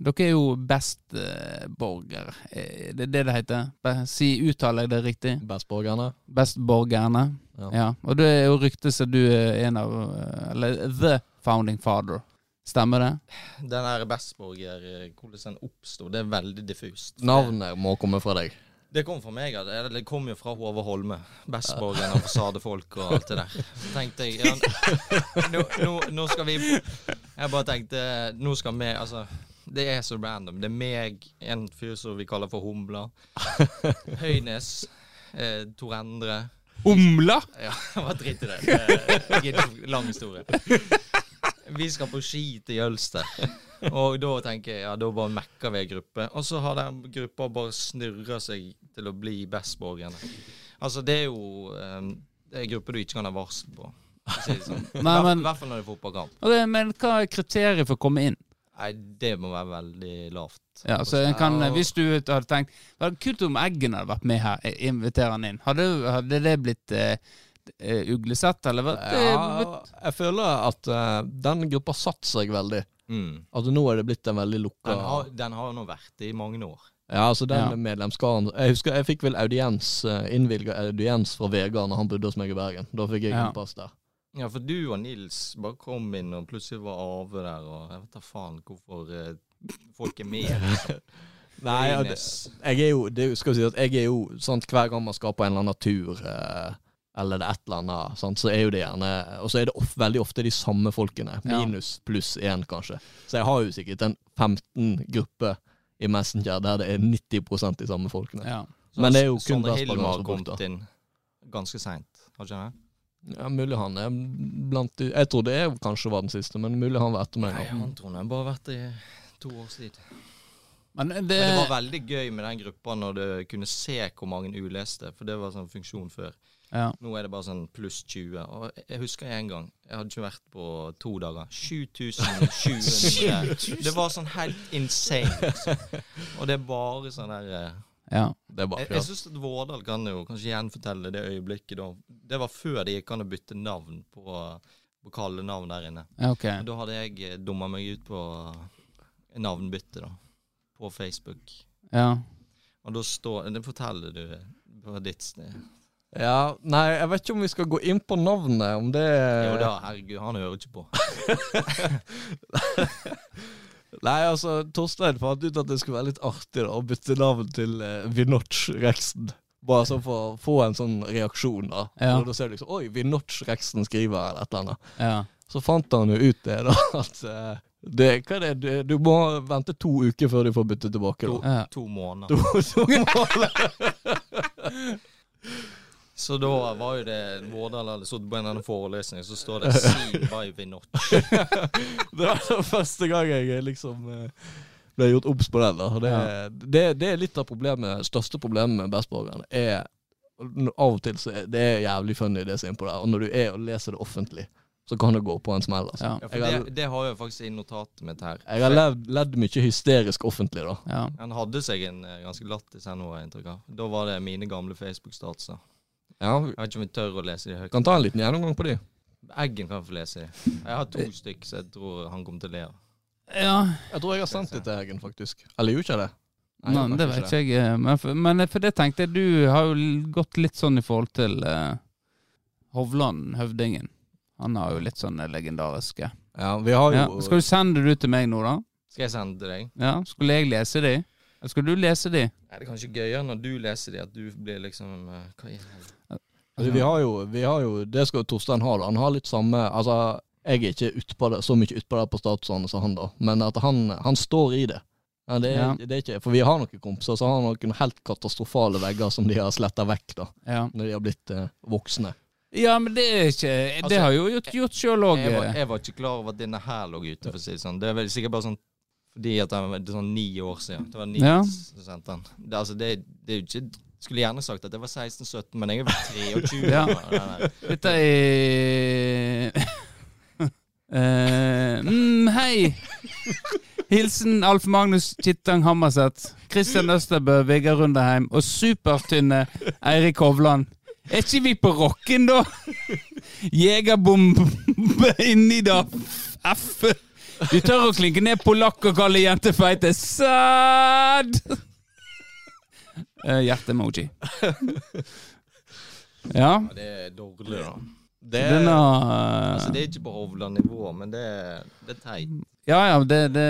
Speaker 1: Dere er jo best eh, borger. Eh, Det er det det heter. Be- Si, uttaler jeg det riktig?
Speaker 2: Bestborgerne?
Speaker 1: Best borgerne.
Speaker 2: Ja.
Speaker 1: Ja. Og det er jo ryktet som du er en av eh, Eller the founding father. Stemmer det?
Speaker 3: Den her Bestborger, eh, hvordan den oppsto, det er veldig diffust.
Speaker 2: Navnet må komme fra deg.
Speaker 3: Det kom fra meg, ja. Det- eller det kom jo fra Håvard Holme. Bestborgen og fasadefolk og alt det der. Så tenkte jeg ja, [LAUGHS] nå, nå, nå skal vi Jeg bare tenkte Nå skal vi Altså, det er så random. Det er meg, en fyr som vi kaller for Humla. Høynes. Eh, Tor Endre.
Speaker 1: Omla!
Speaker 3: Ja, [LAUGHS] bare drit i det. Det er ikke lang historie. Vi skal på ski til Jølster. Og da tenker jeg, ja, da bare mekker vi en gruppe. Og så har den gruppa bare snurra seg til å bli bestborgerne. Altså, det er jo eh, Det er en gruppe du ikke kan ha varsel på. for å si det sånn. I
Speaker 1: [LAUGHS] Nei,
Speaker 3: hvert-
Speaker 1: men-
Speaker 3: hvert fall når det er fotballkamp.
Speaker 1: Og det, men hva er kriteriet for å komme inn?
Speaker 3: Nei, det må være veldig lavt.
Speaker 1: Ja, så en kan, eh, Hvis du hadde tenkt Det hadde vært kult om Eggen hadde vært med her. Jeg inviterer han inn. Hadde, hadde det blitt eh, eh, uglesett, eller? hva? Det-
Speaker 2: Ja, jeg føler at eh, den gruppa satte seg veldig.
Speaker 3: Mm.
Speaker 2: At nå er det blitt en veldig lukka
Speaker 3: Den har- Den har jo nå vært i mange år.
Speaker 2: Ja, altså den
Speaker 1: Ja.
Speaker 2: medlemskaren Jeg husker jeg fikk vel audiens eh, innvilga audiens fra Vegard når han bodde hos meg i Bergen. Da fikk jeg
Speaker 1: Ja.
Speaker 2: innpass der.
Speaker 3: Ja, for du og Nils bare kom inn, og plutselig var Ave der, og jeg vet da faen hvorfor eh, folk er
Speaker 2: [LAUGHS]
Speaker 3: med. liksom.
Speaker 2: Nei, ja, det,
Speaker 3: Ines.
Speaker 2: jeg er jo det, er jo- skal jo si at jeg er jo sant, Hver gang man skal på en eller annen tur eh, eller det er et eller annet, sant, så er jo det gjerne Og så er det of, veldig ofte de samme folkene.
Speaker 1: Ja.
Speaker 2: Minus pluss én, kanskje. Så jeg har jo sikkert en 15 grupper i Messenger der det er 90 de samme folkene.
Speaker 1: Ja.
Speaker 3: Så
Speaker 2: Men det er jo kun
Speaker 3: Sondre
Speaker 2: Vesper
Speaker 3: Hilmer
Speaker 2: som
Speaker 3: har
Speaker 2: har brukt
Speaker 3: kommet
Speaker 2: det.
Speaker 3: Sånn inn ganske seint, har ikke han det?
Speaker 2: Ja, mulig han er blant de Jeg trodde jeg kanskje var den siste, men mulig han var etter meg.
Speaker 3: Nei,
Speaker 2: nå.
Speaker 3: han tror jeg bare har vært i to års tid.
Speaker 1: Men det,
Speaker 3: Men det var
Speaker 2: Eh.
Speaker 3: veldig gøy med den gruppa når du kunne se hvor mange uleste, for det var sånn funksjon før.
Speaker 1: ja.
Speaker 3: Nå er det bare sånn pluss 20. Og jeg- jeg husker en gang, jeg hadde ikke vært på to dager,
Speaker 1: [LAUGHS]
Speaker 3: 7700. det var sånn helt insane. Liksom. Og det er bare sånn der eh,
Speaker 1: ja.
Speaker 2: Det er bare
Speaker 3: Jeg, jeg syns at Vårdal kan jo kanskje gjenfortelle det øyeblikket da Det var før det gikk an å bytte navn på, på kallenavn der inne.
Speaker 1: ja, ok.
Speaker 3: Men Da hadde jeg dumma meg ut på navnbytte, da. På Facebook.
Speaker 1: Ja.
Speaker 3: Og da står Det forteller du på ditt sted.
Speaker 2: Ja, nei, jeg vet ikke om vi skal gå inn på navnet, om det
Speaker 3: Jo da,
Speaker 1: Eh.
Speaker 3: herregud, han hører ikke på.
Speaker 2: Nei, altså, Torstein fant ut at det skulle være litt artig da, å bytte navn til eh, Vinotch Rexen. Bare sånn for å få en sånn reaksjon, da.
Speaker 1: Ja.
Speaker 2: Og da ser du liksom Oi, Vinotch Rexen skriver eller et eller annet.
Speaker 1: ja.
Speaker 2: Så fant han jo ut det, da, [LAUGHS] at eh, det, Hva er det, du, du må vente to uker før du får bytte tilbake, da.
Speaker 1: ja.
Speaker 3: To måneder.
Speaker 2: To, to måneder.
Speaker 3: Så da var jo det Vårdal hadde sittet på en eller annen forelesning, så står [LAUGHS] det 'See by Vinotch'.
Speaker 2: Det var den første gang jeg liksom eh, ble gjort obs på den. da. Og Det, det, det er litt av problemet, største problemet med bestborgeren. er n- Av og til så er det er jævlig funny det som er innpå der. Og når du er og leser det offentlig, så kan det gå på en smell. altså.
Speaker 1: ja.
Speaker 3: Ja, for
Speaker 2: Jeg har,
Speaker 3: det, det har jeg faktisk i notatet mitt her.
Speaker 2: jeg har levd, ledd mye hysterisk offentlig, da.
Speaker 1: ja.
Speaker 3: Han hadde seg en eh, ganske lattis her nå, har jeg inntrykk av. Da var det mine gamle Facebook-statser.
Speaker 2: Ja, vi
Speaker 3: Jeg vet ikke om jeg tør å lese de høyt.
Speaker 2: kan ta en liten gjennomgang på de.
Speaker 3: Eggen kan få lese de. Jeg har to stykk, så jeg tror han kommer til å le. av.
Speaker 1: ja.
Speaker 2: Jeg tror jeg har sendt det til Heggen, faktisk. Eller gjorde jeg det?
Speaker 1: Nei, det vet ikke jeg. eh, Men for, men for det tenkte jeg, du har jo l- gått litt sånn i forhold til eh, Hovland, høvdingen. Han har jo litt sånne legendariske.
Speaker 2: Ja, vi har
Speaker 1: Ja.
Speaker 2: jo
Speaker 1: Skal du sende det ut til meg nå, da?
Speaker 3: Skal jeg sende til deg?
Speaker 1: Ja, Skulle jeg lese de? Eller skulle du lese de?
Speaker 3: Er det er kanskje gøyere når du leser de, at du blir liksom eh, Hva i helvete?
Speaker 2: Altså, vi, har jo, vi har jo Det skal jo Torstein ha, da. Han har litt samme Altså, jeg er ikke ut på det, så mye utpå det på statusene som han, da. Men at han, han står i det. Ja, det, er,
Speaker 1: Ja.
Speaker 2: det er ikke For vi har noen kompiser som har noen helt katastrofale vegger som de har sletta vekk, da.
Speaker 1: Ja,
Speaker 2: Når de har blitt eh, voksne.
Speaker 1: ja men det er ikke Det
Speaker 3: Altså,
Speaker 1: har jeg jo gjort, gjort sjøl òg.
Speaker 3: Jeg var, jeg var ikke klar over at denne her lå ute, for å si det sånn. Det er vel sikkert bare sånn fordi at den var det er sånn ni år siden. Det var ni
Speaker 1: Ja.
Speaker 3: som sendte den. Det, altså, det, det er jo ikke Skulle gjerne sagt at jeg var 16-17, men jeg er vel 23.
Speaker 1: [LAUGHS] Ja.
Speaker 3: Nei, nei, nei.
Speaker 1: Dette er [LAUGHS] Eh, mm, Hei! Hilsen Alf Magnus Kittang Hammerseth, Christian Østerbø, Vegard Rundeheim og supertynne Eirik Hovland. Er ikke vi på rocken, da? Jegerbombe inni da. F. Vi tør å klinke ned polakk og kalle jenter feite. Sad! Eh, Hjerte-emoji. Ja.
Speaker 3: Ja, det er dårlig, da.
Speaker 2: Det,
Speaker 1: Den har
Speaker 3: Altså, det er ikke på Hovland-nivå, men det, er- det er teit.
Speaker 1: Ja, ja, det, det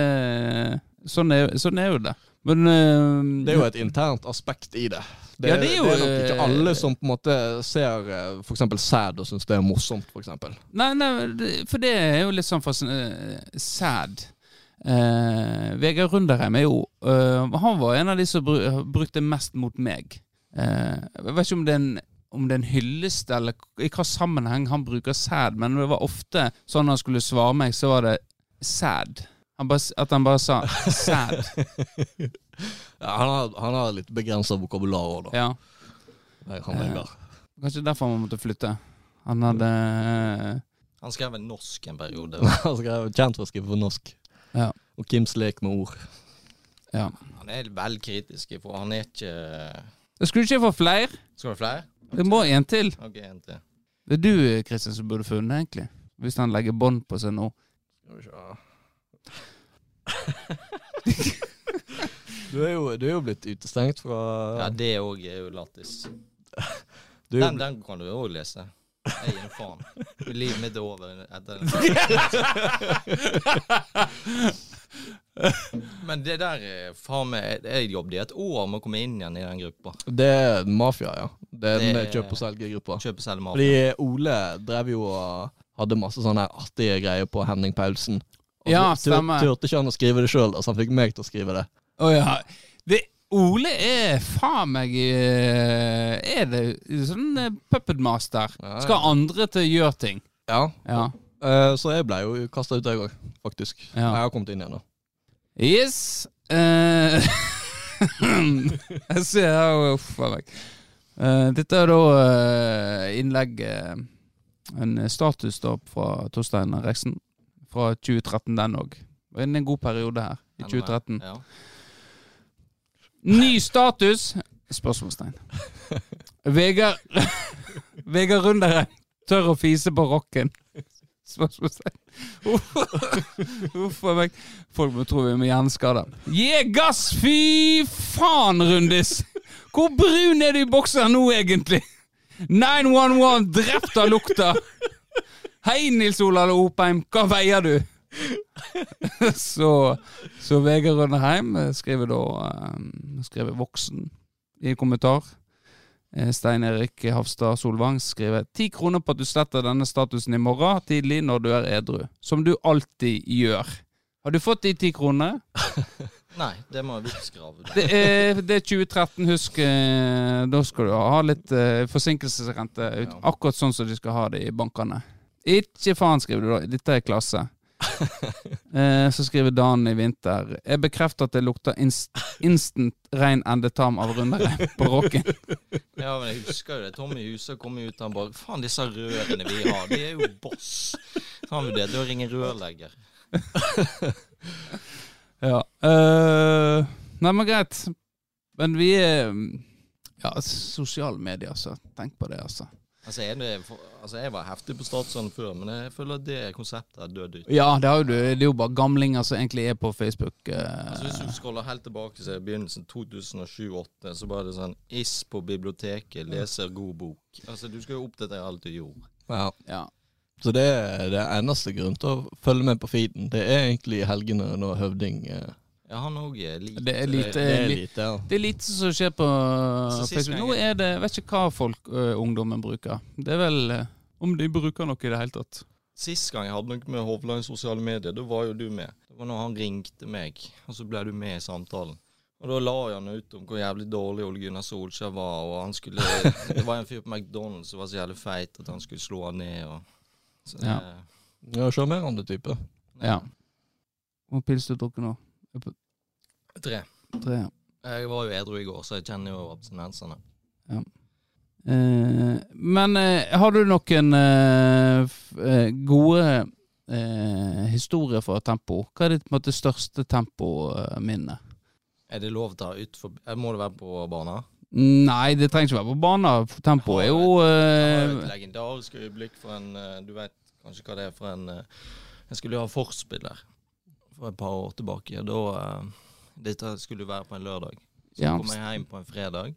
Speaker 1: sånn, er, sånn er jo det. Men eh,
Speaker 2: det er jo et internt aspekt i det. Det,
Speaker 1: Ja, det er jo,
Speaker 2: nok ikke
Speaker 1: eh,
Speaker 2: alle som på en måte ser eh, for eksempel sæd og syns det er morsomt, for eksempel.
Speaker 1: Nei, nei, det- for det er jo litt sånn fascinerende Sad. Eh, Vegard Runderheim er jo eh, Han var en av de som bru, brukte mest mot meg. Eh, jeg vet ikke om det er en om det er en hyllest, eller i hva sammenheng han bruker sæd, men det var ofte sånn han skulle svare meg, så var det sæd. Han bare s- At han bare sa
Speaker 2: [LAUGHS]
Speaker 1: sæd.
Speaker 2: Ja, han, har, han har litt begrensa vokabular òg, da.
Speaker 1: Ja.
Speaker 2: Han Vegard.
Speaker 1: Kanskje derfor han måtte flytte. Han hadde eh,
Speaker 3: Han skrev en norsk en periode.
Speaker 2: [LAUGHS] Han skrev kjent for å skrive på norsk.
Speaker 1: Ja.
Speaker 2: Og Kims lek med ord.
Speaker 1: Ja.
Speaker 3: Han er vel kritisk, for han er ikke
Speaker 1: Jeg skulle ikke få flere.
Speaker 3: Skal vi ha flere?
Speaker 1: Det må en til.
Speaker 3: Ok, en til.
Speaker 1: Det er du, Kristian, som burde funnet, egentlig. Hvis han legger bånd på seg nå.
Speaker 2: [LAUGHS] Du er jo, du er jo blitt utestengt fra
Speaker 3: Ja, det òg er jo lattis.
Speaker 2: du er jo
Speaker 3: Den, den kan du òg lese. Jeg gir en faen. Livet mitt er over etter den. Men det der er faen meg Jeg jobbet i et år med å komme inn igjen i den gruppa.
Speaker 2: bl- Det er mafia, ja. Det er den
Speaker 3: Det-
Speaker 2: kjøp- og selgergruppa.
Speaker 3: Kjøpe selv mat.
Speaker 2: Fordi Ole drev jo og hadde masse sånne her artige greier på Henning Paulsen. Og
Speaker 1: Ja,
Speaker 2: så tur-
Speaker 1: stemmer.
Speaker 2: Turte ikke han å skrive det sjøl, så han fikk meg til å skrive det.
Speaker 1: Å ja. Det, Ole er faen meg eh, Er det sånn eh, puppetmaster?
Speaker 2: Ja, ja.
Speaker 1: Skal andre til å gjøre ting?
Speaker 2: Ja,
Speaker 1: Ja.
Speaker 2: eh, Så jeg ble jo kasta ut, jeg òg, faktisk.
Speaker 1: Ja.
Speaker 2: Jeg har kommet inn igjen nå.
Speaker 1: Yes. eh, [LAUGHS] jeg ser her Uff a meg. Eh, dette er da eh, innlegg eh, En status da fra Torstein Reksen fra 2013, den òg. Det er en god periode her. I 2013.
Speaker 3: Ja.
Speaker 1: Ny status? Spørsmålstegn. Vegard [LAUGHS] Vegard Runderen tør å fise på rocken? Spørsmålstegn. Uff. Uff a meg. Folk må tro vi er med hjerneskade. Gi gass! Fy faen, Rundis! Hvor brun er du i bokser nå, egentlig? 911, drept av lukta! Hei, Nils Olav Opheim, hva veier du? [LAUGHS] så, så Vegard Rønneheim eh, skriver da eh, skriver voksen i en kommentar. Eh, Stein Erik Hafstad Solvang skriver 10 kroner på at du sletter denne statusen i morgen tidlig når du er edru. Som du alltid gjør. Har du fått de ti kronene?
Speaker 3: Nei, det må jeg vippsgrave.
Speaker 1: Det er, det er 2013, husk. eh, Da skal du ha litt eh, forsinkelsesrente. Ut,
Speaker 3: Ja.
Speaker 1: Akkurat sånn som de skal ha det i bankene. Ikke faen, skriver du da. Dette er klasse. [LAUGHS] Eh, Så skriver Dan i vinter Jeg bekrefter at det lukter inst instant rein endetarm av rundereim på rocken.
Speaker 3: Ja, men jeg husker jo det. Tommy Huset kom ut, han bare Faen, disse rørene vi har, de er jo boss. Så har vi det. Da ringer rørlegger.
Speaker 1: [LAUGHS] Ja. eh, nei, men greit. Men vi er Ja, sosiale medier, altså. Tenk på det, altså.
Speaker 3: Altså, er det, for, altså, jeg var heftig på Statsråden før, men jeg føler at det konseptet er død ut.
Speaker 1: Ja, det er jo, du- det er jo bare gamlinger som egentlig er på Facebook. eh.
Speaker 3: Altså, hvis du scroller helt tilbake til begynnelsen 2007-2008, så var det sånn Iss på biblioteket, leser god bok. Altså, du skal jo oppdatere alt du gjorde.
Speaker 2: Ja.
Speaker 1: Ja.
Speaker 2: Så det er det er eneste grunn til å følge med på feeden. Det er egentlig i helgene når høvding eh,
Speaker 3: Ja, han òg er lik.
Speaker 1: Det er
Speaker 2: Det,
Speaker 1: lite,
Speaker 2: det er lite, ja.
Speaker 1: det er lite som skjer på eh,
Speaker 3: Så sist
Speaker 1: Facebook. Nå er det vet ikke hva folk, ø, ungdommen bruker. Det er vel eh, ø, om de bruker noe i det hele tatt.
Speaker 3: Sist gang jeg hadde noe med Hovland i sosiale medier, da var jo du med. Det var når han ringte meg, og så ble du med i samtalen. Og da la han ut om hvor jævlig dårlig Ole Gunnar Solskjær var, og han skulle Det var en fyr på McDonald's som var så jævlig feit at han skulle slå han ned, og så eh, det,
Speaker 1: Ja.
Speaker 2: ja Sjarmerende type.
Speaker 1: Ja. Hvor pils du drukker nå?
Speaker 3: Tre.
Speaker 1: Tre.
Speaker 3: Jeg var jo edru i går, så jeg kjenner jo abstinensene.
Speaker 1: Eh, men eh, har du noen eh, f- eh, gode eh, historier fra tempo? Hva er ditt på en måte, største eh, tempominne?
Speaker 3: Er det lov å ta utfor eh, Må det være på bana?
Speaker 1: Nei, det trenger ikke være på banen. for Tempo er jo
Speaker 3: Det var jo
Speaker 1: eh,
Speaker 3: et legendarisk øyeblikk for en eh, Du vet kanskje hva det er for en eh, Jeg skulle jo ha forspill der for et par år tilbake. og Da eh, Dette skulle jo være på en lørdag. Så
Speaker 1: Ja.
Speaker 3: kom jeg hjem på en fredag.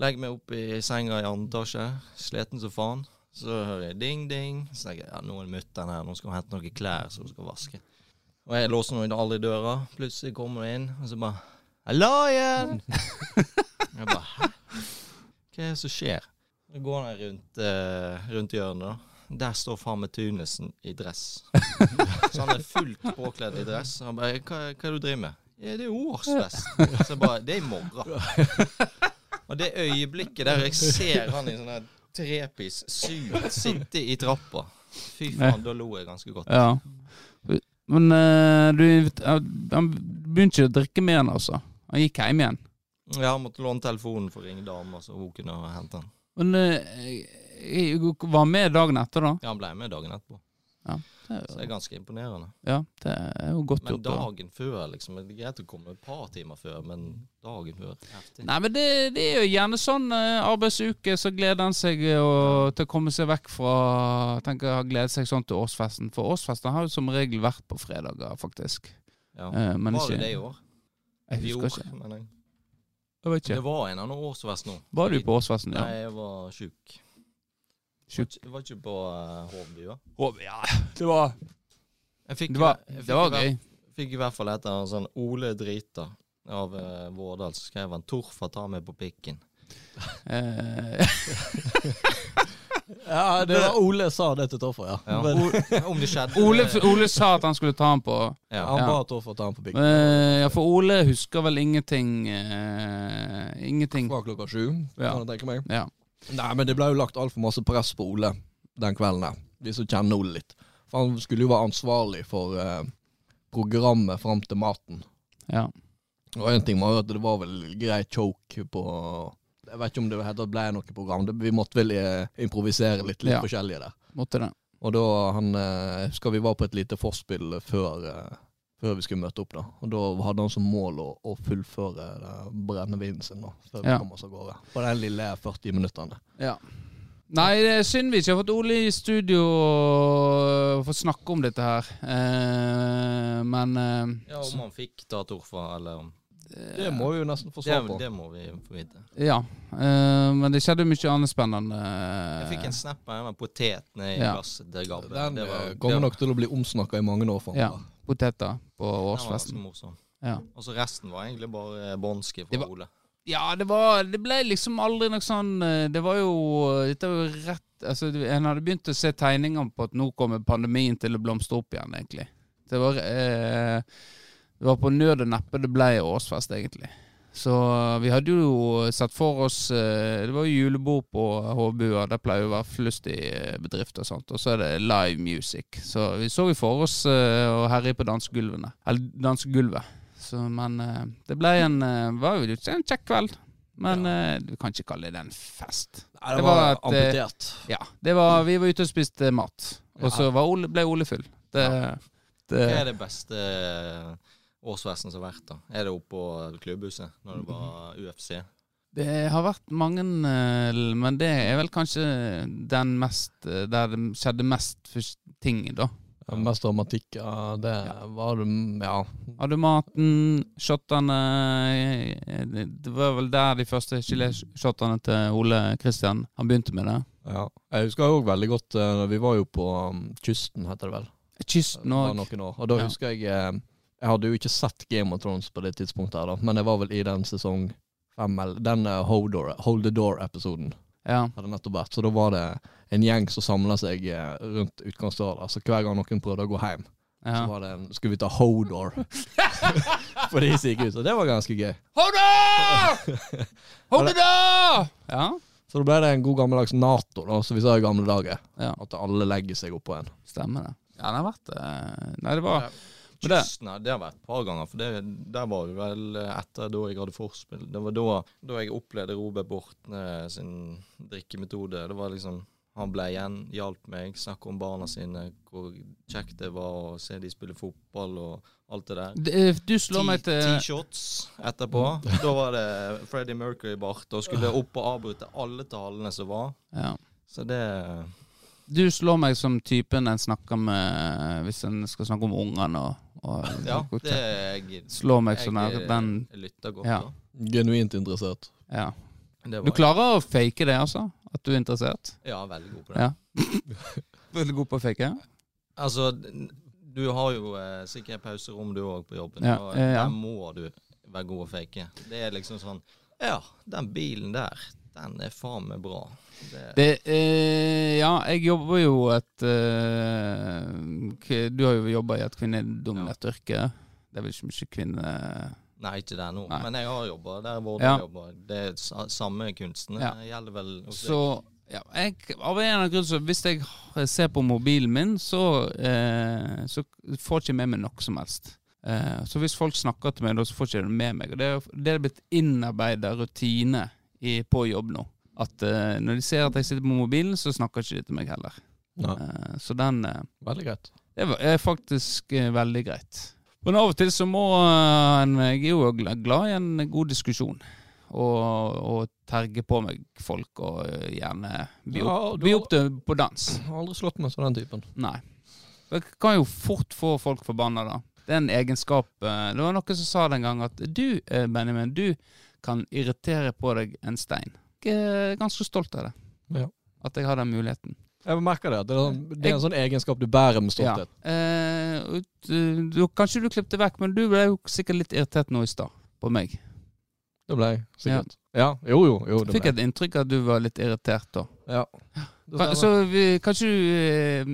Speaker 3: Legger meg opp i senga i andre etasje, sliten som faen. Så hører jeg ding-ding. Så tenker jeg ja, nå er det mutter'n her, nå skal hun hente noen klær som hun skal vaske. Og jeg låser nå alle i døra. Plutselig kommer hun inn, og så bare 'Hallo
Speaker 1: [LAUGHS]
Speaker 3: igjen!' jeg bare 'Hæ? Hva er det som skjer?' Da går han rundt, eh, rundt hjørnet, da. Der står faen meg Tunesen i [LAUGHS] dress. så han er fullt påkledd i dress. Og han bare 'Hva, hva er det du driver med?' Ja, 'Det er jo årsfest.' [LAUGHS] Så jeg bare 'Det er i morgen'. Og det øyeblikket der jeg ser han i sånn her trepis suit sitte i trappa Fy faen, da lo jeg ganske godt.
Speaker 1: Ja. Men eh, du invit- eh, Han begynte ikke å drikke mer enn, altså. Han gikk hjem igjen.
Speaker 3: Ja, han måtte låne telefonen for å ringe dama, så hun kunne hente han.
Speaker 1: Men eh, jeg jeg var med dagen etter, da.
Speaker 3: Ja, han ble med dagen etterpå. Så det
Speaker 1: Det er-
Speaker 3: er ganske imponerende.
Speaker 1: Ja, det er jo godt
Speaker 3: Men
Speaker 1: gjort. da.
Speaker 3: dagen før, liksom. Det er greit å komme et par timer før, men dagen før heftig.
Speaker 1: Nei, men det, det er jo gjerne sånn eh, arbeidsuke, så gleder en seg eh, å- til å komme seg vekk fra Tenker jeg har gledet seg sånn til årsfesten. For årsfesten har jo som regel vært på fredager, faktisk.
Speaker 3: Ja.
Speaker 1: Eh, men
Speaker 3: Var det
Speaker 1: ikke-
Speaker 3: det i år?
Speaker 1: Jeg
Speaker 3: Dior,
Speaker 1: husker ikke.
Speaker 3: mener jeg.
Speaker 1: Jeg vet
Speaker 3: Det
Speaker 1: ikke.
Speaker 3: var en annen årsfest nå.
Speaker 1: Var du på Åsfesten?
Speaker 3: Nei,
Speaker 1: Ja.
Speaker 3: jeg var sjuk.
Speaker 1: Sjuk.
Speaker 3: Jeg var ikke på uh, Hovdua.
Speaker 1: Å, ja. Det var,
Speaker 3: Jeg fikk,
Speaker 1: det var,
Speaker 3: jeg fikk
Speaker 1: det var
Speaker 3: i hvert-
Speaker 1: gøy.
Speaker 3: Fikk i hvert fall et av sånn Ole Drita av uh, Vårdal, så skrev han 'Torfa tar meg på pikken'.
Speaker 1: Eh,
Speaker 2: Ja, det var Ole sa det til Toffer, ja.
Speaker 3: Ja.
Speaker 2: Men,
Speaker 3: Om det skjedde
Speaker 1: Ole, Ole sa at han skulle ta den på
Speaker 3: ja.
Speaker 2: han
Speaker 1: Ja.
Speaker 2: ba Toffer ta han på pikken.
Speaker 1: Eh, Ja, for Ole husker vel ingenting eh, Ingenting.
Speaker 2: Fra klokka sju,
Speaker 1: Ja.
Speaker 2: kan jeg tenke meg.
Speaker 1: Ja.
Speaker 2: Nei, men det ble jo lagt altfor masse press på Ole den kvelden der, de som kjenner Ole litt. For han skulle jo være ansvarlig for eh, programmet fram til maten.
Speaker 1: ja.
Speaker 2: Og en ting var jo at det var vel grei choke på Jeg vet ikke om det heter, ble noe program. Det, vi måtte vel eh, improvisere litt, litt
Speaker 1: Ja.
Speaker 2: forskjellige der.
Speaker 1: Måtte det.
Speaker 2: Og da han eh, Jeg husker vi var på et lite forspill før, eh, før vi skulle møte opp, da. Og da hadde han som mål å, å fullføre eh, brennevinen sin, da. Før
Speaker 1: Ja.
Speaker 2: vi kom oss av gårde. På de lille 40 minuttene.
Speaker 1: Ja. Nei, det er synd vi ikke har fått Ole i studio og fått snakke om dette her. Eh, men eh,
Speaker 3: ja, om han fikk ta Torfa, eller om
Speaker 2: Det må vi jo nesten få
Speaker 3: det,
Speaker 2: svar på.
Speaker 3: det må vi få vite.
Speaker 1: Ja. Eh, men det skjedde mye annet spennende.
Speaker 3: Jeg fikk en snap av en potet ned i
Speaker 1: Ja.
Speaker 3: glasset til Gabbe.
Speaker 2: Den
Speaker 3: det var,
Speaker 2: eh,
Speaker 3: det
Speaker 2: kommer
Speaker 3: var-
Speaker 2: nok til å bli omsnakka i mange år
Speaker 1: Ja.
Speaker 2: framover.
Speaker 1: Poteter på
Speaker 3: sånn- den var ganske
Speaker 1: årsfesten.
Speaker 3: morsom.
Speaker 1: Ja.
Speaker 3: Og så resten var egentlig bare bånski
Speaker 1: Det var-
Speaker 3: fra
Speaker 1: eh,
Speaker 3: Ole.
Speaker 1: Ja, det var Det ble liksom aldri noe sånn eh, Det var jo Dette var jo rett Altså, du- en hadde begynt å se tegninger på at nå kommer pandemien til å blomstre opp igjen, egentlig. Det var eh, Det var på nød og neppe det ble årsfest, egentlig. Så eh, vi hadde jo sett for oss eh, Det var jo julebord på Håbua. Der pleier jo å være flust i eh, bedrifter og sånt. Og så er det live music. Så vi så jo for oss eh, å herje på dansegulvene. Eller dansegulvet. Så, men eh, det ble en eh, var jo en kjekk kveld. Men eh, du kan ikke kalle det en fest.
Speaker 2: Nei,
Speaker 1: Det
Speaker 2: det
Speaker 1: var
Speaker 2: var
Speaker 1: et, eh,
Speaker 2: amputert.
Speaker 1: Ja, det var, Vi var ute og spiste mat, og så
Speaker 2: Ja.
Speaker 1: var Ole, ble Ole full. Det, det,
Speaker 3: Hva er det beste eh, årsfesten som har vært, da? Er det oppå klubbhuset, når det var UFC?
Speaker 1: Det har vært mange, eh, men det er vel kanskje den mest eh, Der det skjedde mest først- ting, da.
Speaker 2: Ja, Mest dramatikk, ja. Det var det mm, Ja.
Speaker 1: Hadde maten, shotene eh, Det var vel der de første gelé-shotene til Ole Kristian Han begynte med det.
Speaker 2: ja. Jeg husker jo veldig godt eh, Vi var jo på um, kysten, heter det vel. Det
Speaker 1: Kysten
Speaker 2: var
Speaker 1: òg.
Speaker 2: noen år. Og da
Speaker 1: Ja.
Speaker 2: husker jeg eh, Jeg hadde jo ikke sett Game of Thrones på det tidspunktet, her da men jeg var vel i den sesong fem, eller den eh, Hold, Door- Hold the Door-episoden.
Speaker 1: Ja.
Speaker 2: hadde nettopp vært Så da var det en gjeng som samla seg eh, rundt utgangsdøra. Så hver gang noen prøvde å gå hjem, så
Speaker 1: ja.
Speaker 2: var det en Skulle vi ta [LAUGHS] Hodor? For de som gikk ut. Og det var ganske gøy.
Speaker 1: Hoda! Hoda! Ja.
Speaker 2: Så da ble det en god gammeldags Nato, da, som vi sa i gamle dager.
Speaker 1: Ja.
Speaker 2: At alle legger seg oppå en.
Speaker 1: Stemmer det. Ja, det har vært eh, Nei, det var Men det-
Speaker 3: Kysten, ja, det har vært et par ganger. For det, der var vi vel eh, etter da jeg hadde forspill. Det var da, da jeg opplevde Robert Bortne eh, sin drikkemetode. Det var liksom Han ble igjen, hjalp meg, snakka om barna sine, hvor kjekt det var å se de spille fotball og alt det der.
Speaker 1: Det- eh, Du slår meg
Speaker 3: Ti
Speaker 1: til Mm.
Speaker 3: ti shots etterpå. [LAUGHS] Da var det Freddie Mercury-bart og
Speaker 1: Ah.
Speaker 3: skulle opp og avbryte alle talene som var.
Speaker 1: ja.
Speaker 3: Så det
Speaker 1: Du slår meg som typen en snakker med hvis en skal snakke om ungene og, [LAUGHS] og
Speaker 3: Ja, det jeg,
Speaker 1: Slår meg sånn her.
Speaker 3: jeg eh,
Speaker 1: Den
Speaker 3: lytter godt,
Speaker 1: Ja.
Speaker 3: da.
Speaker 2: Genuint interessert.
Speaker 1: Ja.
Speaker 3: Det var
Speaker 1: Du klarer å fake det, altså? At du er interessert?
Speaker 3: jeg- Ja, veldig god på det.
Speaker 1: Ja. Veldig god på å fake?
Speaker 3: Altså, n- du har jo eh, sikkert pauserom du òg på jobben.
Speaker 1: Ja,
Speaker 3: og
Speaker 1: eh, ja.
Speaker 3: Der må du være god å fake. Det er liksom sånn Ja, den bilen der, den er faen meg bra. Det,
Speaker 1: Det, eh, ja, jeg jobber jo et eh, k- Du har jo jobba i et kvinnedominert yrke. Det er vel ikke mye kvinne...
Speaker 3: nei, ikke der nå,
Speaker 1: Nei.
Speaker 3: men jeg har jobba der hvor du
Speaker 1: Ja.
Speaker 3: jobber. Det er sa, samme kunsten.
Speaker 1: Ja.
Speaker 3: Det gjelder vel hos
Speaker 1: Så ja, jeg, av en eller annen grunn så hvis jeg ser på mobilen min, så, eh, så får jeg ikke med meg noe som helst. Eh, så hvis folk snakker til meg, da, så får jeg ikke det med meg. Og det, er- det er blitt innarbeida rutine i, på jobb nå. At eh, når de ser at jeg sitter på mobilen, så snakker ikke de til meg heller.
Speaker 2: Ja.
Speaker 1: Eh, så den eh,
Speaker 2: Veldig greit.
Speaker 1: Det var- er faktisk eh, veldig greit. Men av og til så må eh, en Jeg er jo gl- glad i en god diskusjon. Og, og terge på meg folk, og eh, gjerne by opp,
Speaker 2: Ja, du
Speaker 1: by
Speaker 2: har-
Speaker 1: opp til på dans.
Speaker 2: Jeg har aldri slått meg som den sånn typen.
Speaker 1: Nei. Det kan jo fort få folk forbanna, da. Det er en egenskap eh, Det var noen som sa den gang at du, eh, Benjamin, du kan irritere på deg en stein. Jeg er ganske stolt av det.
Speaker 2: Ja.
Speaker 1: At jeg har den muligheten.
Speaker 2: Jeg merker det. at Det er, sånn, det er en sånn egenskap du bærer med stolthet.
Speaker 1: Ja. Eh, og du, du, kanskje du klippet det vekk, men du ble jo sikkert litt irritert nå i stad på meg.
Speaker 2: Det ble jeg sikkert. Ja. Jo, jo. jo det
Speaker 1: Fikk
Speaker 2: ble.
Speaker 1: et inntrykk av at du var litt irritert da.
Speaker 2: Ja. sånn-
Speaker 1: Kan, så vi, kanskje du eh,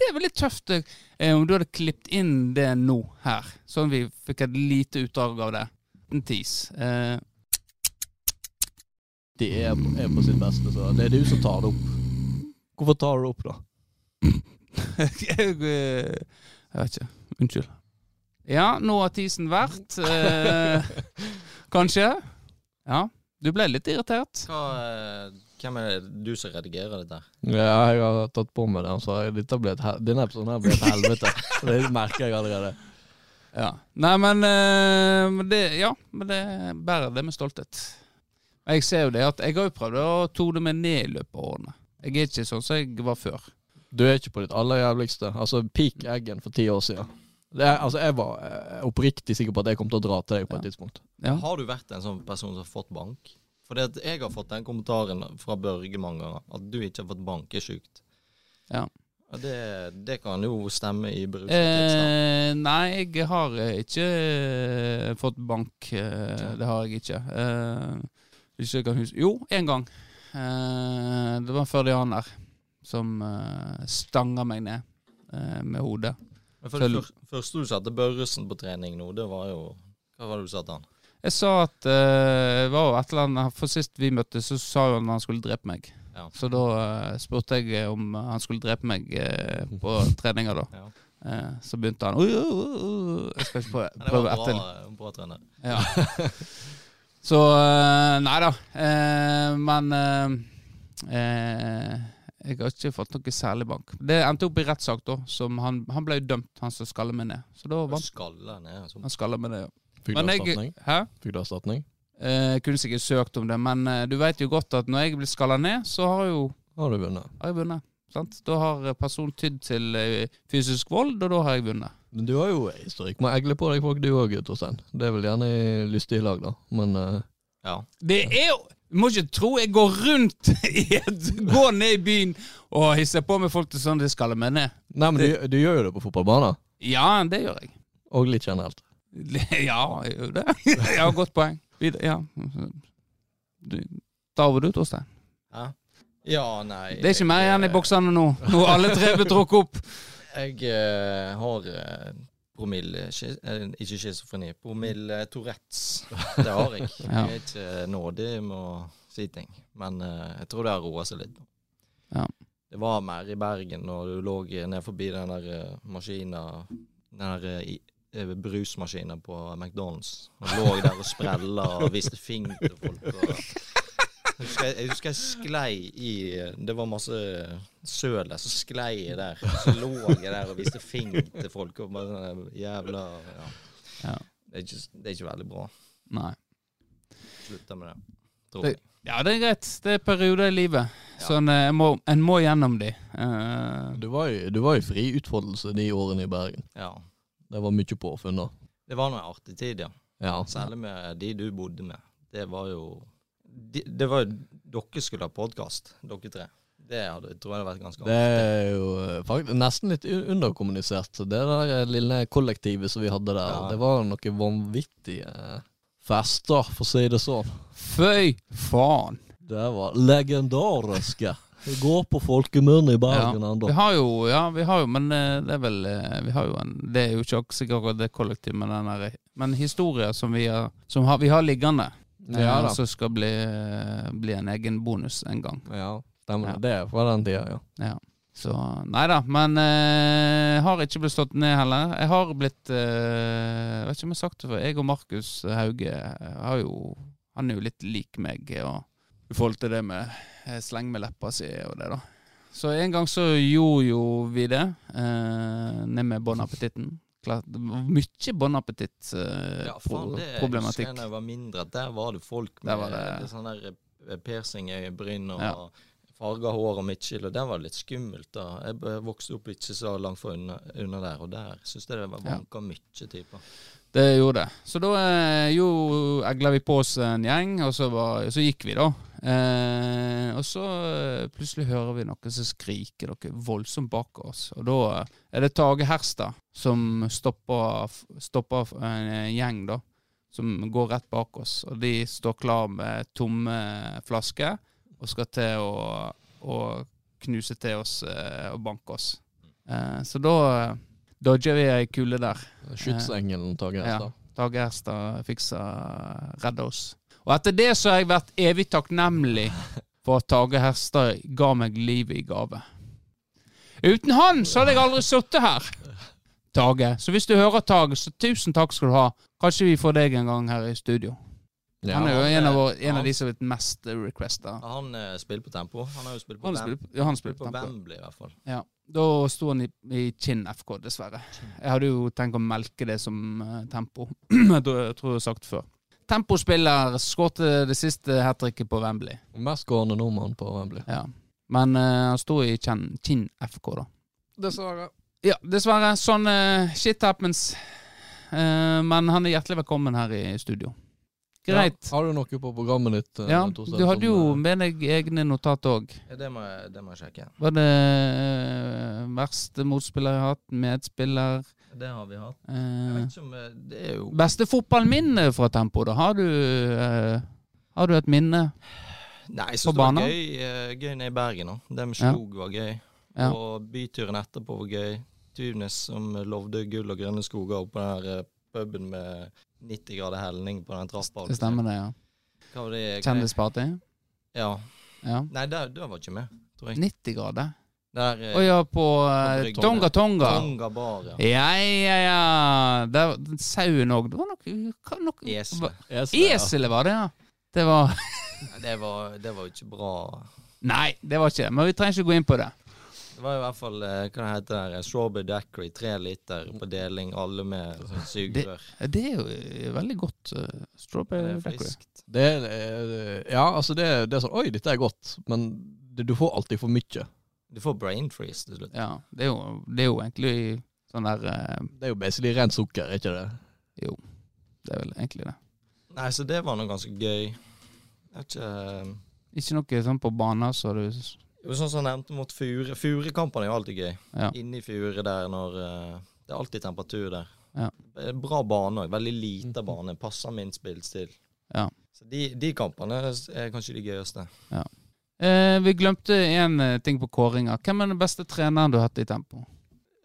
Speaker 1: Det er veldig tøft eh, om du hadde klippet inn det nå her, sånn vi fikk et lite utdrag av det. En tease. Eh,
Speaker 2: De er, er på sitt beste, så det er du som tar det opp. Hvorfor tar du det opp, da?
Speaker 1: [LAUGHS] jeg, eh, jeg vet ikke. Unnskyld. Ja, nå har teasen vært. [LAUGHS] Eh, kanskje. Ja. Du ble litt irritert.
Speaker 3: Hva, eh, hvem er det du som redigerer dette? her?
Speaker 2: Ja, jeg har tatt på meg den, så dette ble et hel denne episoden her ble et helvete. [LAUGHS] det merker jeg allerede.
Speaker 1: Ja. Nei, men, eh, men det, Ja, men det bærer det med stolthet. Jeg ser jo det at jeg har jo prøvd å tone meg ned i løpet av årene. Jeg er ikke sånn som jeg var før.
Speaker 2: Du er ikke på ditt aller jævligste. Altså, peak eggen for ti år siden. Det er, altså, jeg var eh, oppriktig sikker på at jeg kom til å dra til deg på et tidspunkt.
Speaker 1: Ja.
Speaker 3: Har du vært en sånn person som har fått bank? Fordi at jeg har fått den kommentaren fra Børge mange ganger, at du ikke har fått bank, er sjukt.
Speaker 1: Ja.
Speaker 3: Og Det, det kan jo stemme i bruset.
Speaker 1: Eh, nei, jeg har eh, ikke eh, fått bank. Eh, det har jeg ikke. Eh, hvis jeg kan huske Jo, én gang. Eh, det var en førdianer som eh, stanga meg ned eh, med hodet.
Speaker 3: Men for det fyr- første du satte Børresen på trening nå, det var jo Hva var det du satte han?
Speaker 1: Jeg sa at eh, det var jo et eller annet For sist vi møttes, så sa jo han han skulle drepe meg.
Speaker 3: Ja.
Speaker 1: Så da eh, spurte jeg om han skulle drepe meg
Speaker 3: [LAUGHS]
Speaker 1: eh, på treninga, da.
Speaker 3: Ja.
Speaker 1: Eh, så begynte han «Oi, oi, oi, oi». Jeg skal ikke prøve,
Speaker 3: Men Det var
Speaker 1: prøve
Speaker 3: en
Speaker 1: etter.
Speaker 3: bra, bra trener.
Speaker 1: Ja. Så eh, Nei da. Eh, Men eh, eh, jeg har ikke fått noe særlig bank. Det endte opp i rettssak, da. Som han, han ble jo dømt, han som skaller meg ned. Så da vant
Speaker 3: Skalle ned sånn.
Speaker 1: han skaller meg ned, ja.
Speaker 2: Fikk du
Speaker 1: Men jeg
Speaker 2: erstatning?
Speaker 1: Hæ?
Speaker 2: Fikk du erstatning?
Speaker 1: Eh, jeg kunne sikkert søkt om det, men eh, du vet jo godt at når jeg blir skalla ned, så har jo
Speaker 2: Har du vunnet?
Speaker 1: har jeg vunnet. Sant? Da har eh, personen tydd til eh, fysisk vold, og da har jeg vunnet.
Speaker 2: Men du har jo historikk med egle på deg, folk du òg, Torstein. Det er vel gjerne i lystige lag, da. Men eh,
Speaker 3: Ja.
Speaker 1: Det er jo Du må ikke tro jeg går rundt [LAUGHS] i et Går ned i byen og hisser på med folk til sånn de skal meg ned.
Speaker 2: Nei, men du, du gjør jo det på fotballbanen.
Speaker 1: Ja, det gjør jeg. [LAUGHS]
Speaker 2: Og litt generelt.
Speaker 1: Ja, jeg gjør det. [LAUGHS] Ja, godt poeng. Vid- Ja. Du, ta over du, Torstein.
Speaker 3: Hæ? Ja, nei
Speaker 1: Det er ikke mer
Speaker 3: jeg-
Speaker 1: igjen i boksene nå. Nå er alle tre blitt trukket opp.
Speaker 3: Jeg eh, har eh, promille schi- eh, Ikke schizofreni. Promille Tourettes. Det har jeg.
Speaker 1: [LAUGHS] Ja.
Speaker 3: Jeg er ikke nådig med å si ting. Men eh, jeg tror det har roa seg litt. nå.
Speaker 1: Ja.
Speaker 3: Det var mer i Bergen når du lå ned forbi den der eh, maskina Den der eh, i- eh, brusmaskina på McDonald's. Og lå der og sprella og viste finger til folk. og... Jeg husker jeg, jeg husker jeg sklei i eh, Det var masse søl der, så sklei jeg der. Så lå jeg der og viste finger til folk. Og bare sånn jævla ja.
Speaker 1: Ja.
Speaker 3: Det, er ikke, det er ikke veldig bra.
Speaker 1: Nei.
Speaker 3: Slutta med det. Tror jeg.
Speaker 1: Ja, det er greit. Det er perioder i livet.
Speaker 3: Ja.
Speaker 1: Sånn, eh, en må, en må gjennom de. Eh,
Speaker 2: Du var jo, du var jo fri utfoldelse de årene i Bergen.
Speaker 3: Ja.
Speaker 2: Det var mye påfunn da.
Speaker 3: Det var nå en artig tid, ja.
Speaker 2: Ja.
Speaker 3: Særlig med de du bodde med. Det var jo de, Det var jo Dere skulle ha podkast, dere tre. Det hadde, tror jeg hadde vært ganske
Speaker 2: Det er jo eh, fakt- nesten litt u- underkommunisert. Det der eh, lille kollektivet som vi hadde der,
Speaker 3: Ja.
Speaker 2: det var noe vanvittige eh, fester, for å si det sånn.
Speaker 1: Føy faen!
Speaker 2: Det var legendariske. Det går på folkemunne i Bergen
Speaker 1: Vi
Speaker 2: ennå.
Speaker 1: har jo, ja, vi har jo, men eh, det er vel eh, Vi har jo en Det er jo ikke ak- sikkert akkurat det kollektiv med den her Men historier som vi har, som har, vi har liggende, eh,
Speaker 2: Ja da.
Speaker 1: som skal bli, eh, bli en egen bonus en gang.
Speaker 2: Ja, stemmer
Speaker 1: Ja.
Speaker 2: det. Det er fra den tida, ja.
Speaker 1: Ja. Så nei da, men eh, jeg har ikke blitt slått ned heller. Jeg har blitt eh, Jeg vet ikke om jeg har sagt det før, jeg og Markus Hauge eh, har jo Han er jo litt lik meg og, i forhold til det med eh, sleng med leppa si og det, da. Så en gang så gjorde jo vi det, eh, ned med Bon Appetitten. Klart, det var Mye eh, Bon
Speaker 3: Ja, faen, det jeg
Speaker 1: Appetitt-problematikk.
Speaker 3: husker jeg da jeg var mindre, at der var det folk
Speaker 1: Der
Speaker 3: med
Speaker 1: var det-
Speaker 3: sånn der eh, piercing i bryn og
Speaker 1: Ja.
Speaker 3: farga hår og midtskill, og der var det litt skummelt. da. Jeg b- vokste opp ikke så langt fra unna, unna der, og der syns jeg det var
Speaker 1: Ja.
Speaker 3: vanka mye typer.
Speaker 1: Det gjorde det. Så da eh, jo egla vi på oss en gjeng, og så, var, så gikk vi, da. Eh, og så eh, plutselig hører vi noen som skriker noe voldsomt bak oss. Og da eh, er det Tage Herstad som stopper, f- stopper f- en eh, gjeng, da. Som går rett bak oss. Og de står klar med tomme flasker og skal til å, å knuse til oss eh, og banke oss. Eh, så da eh, dodger vi ei kule der.
Speaker 2: Skytsengelen Tage Hestad.
Speaker 1: Dag Erstad fiksa redda oss. Og etter det så har jeg vært evig takknemlig for at Tage Herstad ga meg livet i gave. Uten han så hadde jeg aldri sittet her, Tage. Så hvis du hører Tage, så tusen takk skal du ha. Kanskje vi får deg en gang her i studio.
Speaker 2: Ja.
Speaker 1: Han er jo
Speaker 3: han
Speaker 1: en av,
Speaker 3: er-
Speaker 1: våre, en
Speaker 3: han-
Speaker 1: av de som har blitt mest requesta.
Speaker 3: Han eh, spiller på tempo. Han har jo spilt på,
Speaker 1: Han
Speaker 3: Wem-
Speaker 1: spiller på- ja, han spiller
Speaker 3: spilt
Speaker 1: på
Speaker 3: på
Speaker 1: tempo.
Speaker 3: Wembley, i hvert fall.
Speaker 1: Ja. Da sto han i, i Kinn FK, dessverre. Jeg hadde jo tenkt å melke det som eh, tempo. [CLEARS THROAT] jeg tror jeg har sagt før. Tempospiller skårte det siste hat tricket på Wembley.
Speaker 2: Mest gående nordmann på Wembley.
Speaker 1: Ja. Men eh, han sto i Kinn, Kinn FK, da.
Speaker 2: Dessverre.
Speaker 1: Ja, dessverre. Sånn eh, shit happens. Eh, men han er hjertelig velkommen her i studio. Greit.
Speaker 2: Har du noe på programmet ditt? eh,
Speaker 1: Ja,
Speaker 2: Torstein,
Speaker 1: du hadde jo
Speaker 2: som, eh,
Speaker 1: med deg egne notat òg.
Speaker 3: Ja, Det må jeg, det må jeg sjekke.
Speaker 1: Var det eh, verste motspiller jeg har hatt, medspiller
Speaker 3: Det har vi hatt. Jeg
Speaker 1: eh,
Speaker 3: vet ikke om eh, Det er jo
Speaker 1: Beste fotballminne fra Tempo, da? Har du, eh, har du et minne?
Speaker 3: Nei, jeg
Speaker 1: På
Speaker 3: syns det var
Speaker 1: banen?
Speaker 3: gøy, eh, gøy nede i Bergen òg. Det med
Speaker 1: Ja.
Speaker 3: skog var gøy.
Speaker 1: Ja.
Speaker 3: Og byturen etterpå var gøy. Tunis som lovde gull og grønne skoger oppå den her eh, puben med 90 grader helning på den trappa.
Speaker 1: Det stemmer det, ja.
Speaker 3: Hva var det? eh,
Speaker 1: Kjendisparty?
Speaker 3: Ja.
Speaker 1: Ja.
Speaker 3: Nei, der, der var ikke med.
Speaker 1: 90 grader.
Speaker 3: Der eh,
Speaker 1: Å ja, på eh, Tonga Tonga.
Speaker 3: Tonga bar, ja.
Speaker 1: Ja, ja, ja. Der, den sauen òg. Det var noe, hva- noe
Speaker 3: Esel.
Speaker 2: Esel, ja.
Speaker 1: Eselet var det, altså- ja. Det var [LAUGHS]
Speaker 3: Nei, Det var, det var jo ikke bra.
Speaker 1: Nei, det var ikke det. Men vi trenger ikke gå inn på det.
Speaker 3: Det var i hvert fall eh, hva det heter det, strawberry daiquiri, tre liter på deling, alle med sånn sugerør.
Speaker 1: Det er jo eh, veldig godt. eh,
Speaker 3: Det
Speaker 1: strawberry
Speaker 3: er
Speaker 1: daiquiri.
Speaker 3: friskt.
Speaker 2: Det er, eh, ja, altså det, er- det er sånn Oi, dette er godt, men det, du får alltid for mye.
Speaker 3: Du får brain freeze til slutt.
Speaker 1: Ja, det er jo, det er jo egentlig sånn der eh,
Speaker 2: Det er jo basically rent sukker, er ikke det?
Speaker 1: Det er vel egentlig det.
Speaker 3: Nei, så det var nå ganske gøy. Jeg vet ikke
Speaker 1: Ikke noe sånn på banen, så du
Speaker 3: Det var sånn som jeg nevnte mot Fure. Furekampene er jo alltid gøy.
Speaker 1: Ja.
Speaker 3: Inni Fure der når eh, Det er alltid temperatur der.
Speaker 1: Ja.
Speaker 3: Eh, Bra bane òg. Veldig lite bane. Passer min spillstil.
Speaker 1: Ja.
Speaker 3: Så de, de kampene er kanskje de gøyeste.
Speaker 1: Eh, vi glemte én eh, ting på kåringa. Hvem er den beste treneren du har hatt i Tempo?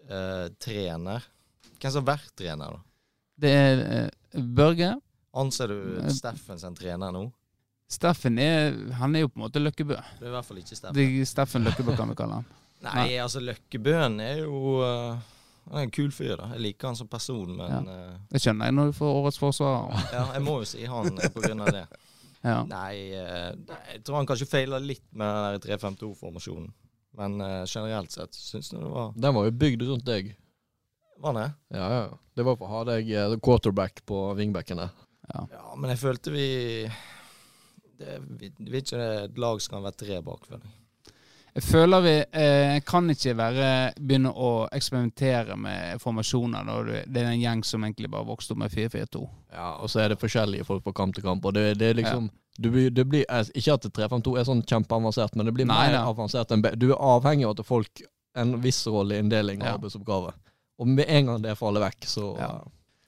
Speaker 3: Eh, trener Hvem som har vært trener, da?
Speaker 1: Det er eh, Børge.
Speaker 3: Anser
Speaker 1: Eh,
Speaker 3: du Steffen som trener nå?
Speaker 1: Steffen er, han er jo på en måte Løkkebø.
Speaker 3: Det er i hvert fall ikke Steffen.
Speaker 1: Det, Steffen Løkkebø kan vi kalle han.
Speaker 3: Nei, altså Løkkebøen er jo eh, Han er en kul fyr, da. Jeg liker han som person, men eh,
Speaker 1: Det skjønner jeg når du får årets forsvarer.
Speaker 3: ja, jeg må jo si han eh, på grunn av det.
Speaker 1: Ja.
Speaker 3: Nei, eh, nei, jeg tror han kanskje feila litt med den 3-5-2-formasjonen. Men eh, generelt sett syns jeg det var
Speaker 2: Den var jo bygd rundt deg.
Speaker 3: Var det?
Speaker 2: Ja, ja. Det var for å ha deg eh, quarterback på wingbackene.
Speaker 3: Ja, men jeg følte vi det, vi, vi er ikke et lag som kan være tre bak, føler jeg.
Speaker 1: Jeg føler vi eh, kan ikke være begynne å eksperimentere med formasjoner når du, det er en gjeng som egentlig bare vokste opp med 4-4-2.
Speaker 2: Ja, og så er det forskjellige folk på kamp til kamp, og det, det er liksom du blir, det blir, eh, Ikke at 352 er sånn kjempeavansert, men det blir
Speaker 1: Nei,
Speaker 2: mer
Speaker 1: nei.
Speaker 2: avansert enn be- Du er avhengig av at folk en viss rolle i inndeling av
Speaker 1: Ja.
Speaker 2: arbeidsoppgaver. Og med en gang det faller vekk, så
Speaker 1: Ja.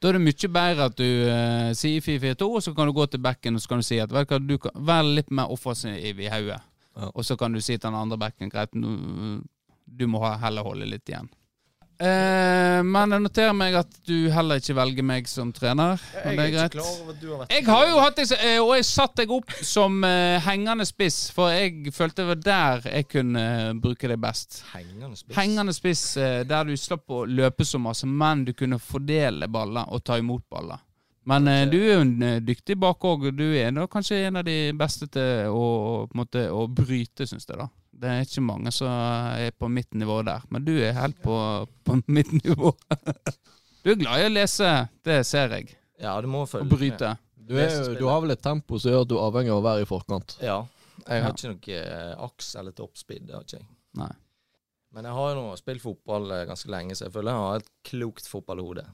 Speaker 1: Da er det mye bedre at du eh, sier 4-4-2, og så kan du gå til bekken og så kan du si at vet du hva, du kan være litt mer offensiv i hodet.
Speaker 2: Ja.
Speaker 1: Og så kan du si til den andre bekken greit, nå, du må ha- heller holde litt igjen. Eh, men jeg noterer meg at du heller ikke velger meg som trener. Men det er greit.
Speaker 3: over at du har vært
Speaker 1: Jeg har jo hatt deg, s- eh, og jeg satte deg opp som eh, hengende spiss, for jeg følte det var der jeg kunne eh, bruke deg best.
Speaker 3: hengende spiss.
Speaker 1: Hengende spiss eh, der du slapp å løpe så masse, men du kunne fordele baller og ta imot baller. Men eh, du er jo en eh, dyktig bak òg. Du er da kanskje en av de beste til å, på en måte, å bryte, syns jeg. da. Det er ikke mange som er på mitt nivå der, men du er helt på, på mitt nivå. [LAUGHS] Du er glad i å lese, det ser jeg.
Speaker 3: Ja, du må følge
Speaker 1: Og bryte.
Speaker 2: du, er, jo- du har vel et tempo som gjør at du er avhengig av å være i forkant.
Speaker 3: med. Ja. Jeg
Speaker 1: Ja.
Speaker 3: har ikke noe eh, aks eller toppspeed. det har ikke jeg.
Speaker 1: Nei.
Speaker 3: Men jeg har jo nå spilt fotball eh, ganske lenge, så jeg føler jeg har et klokt fotballhode.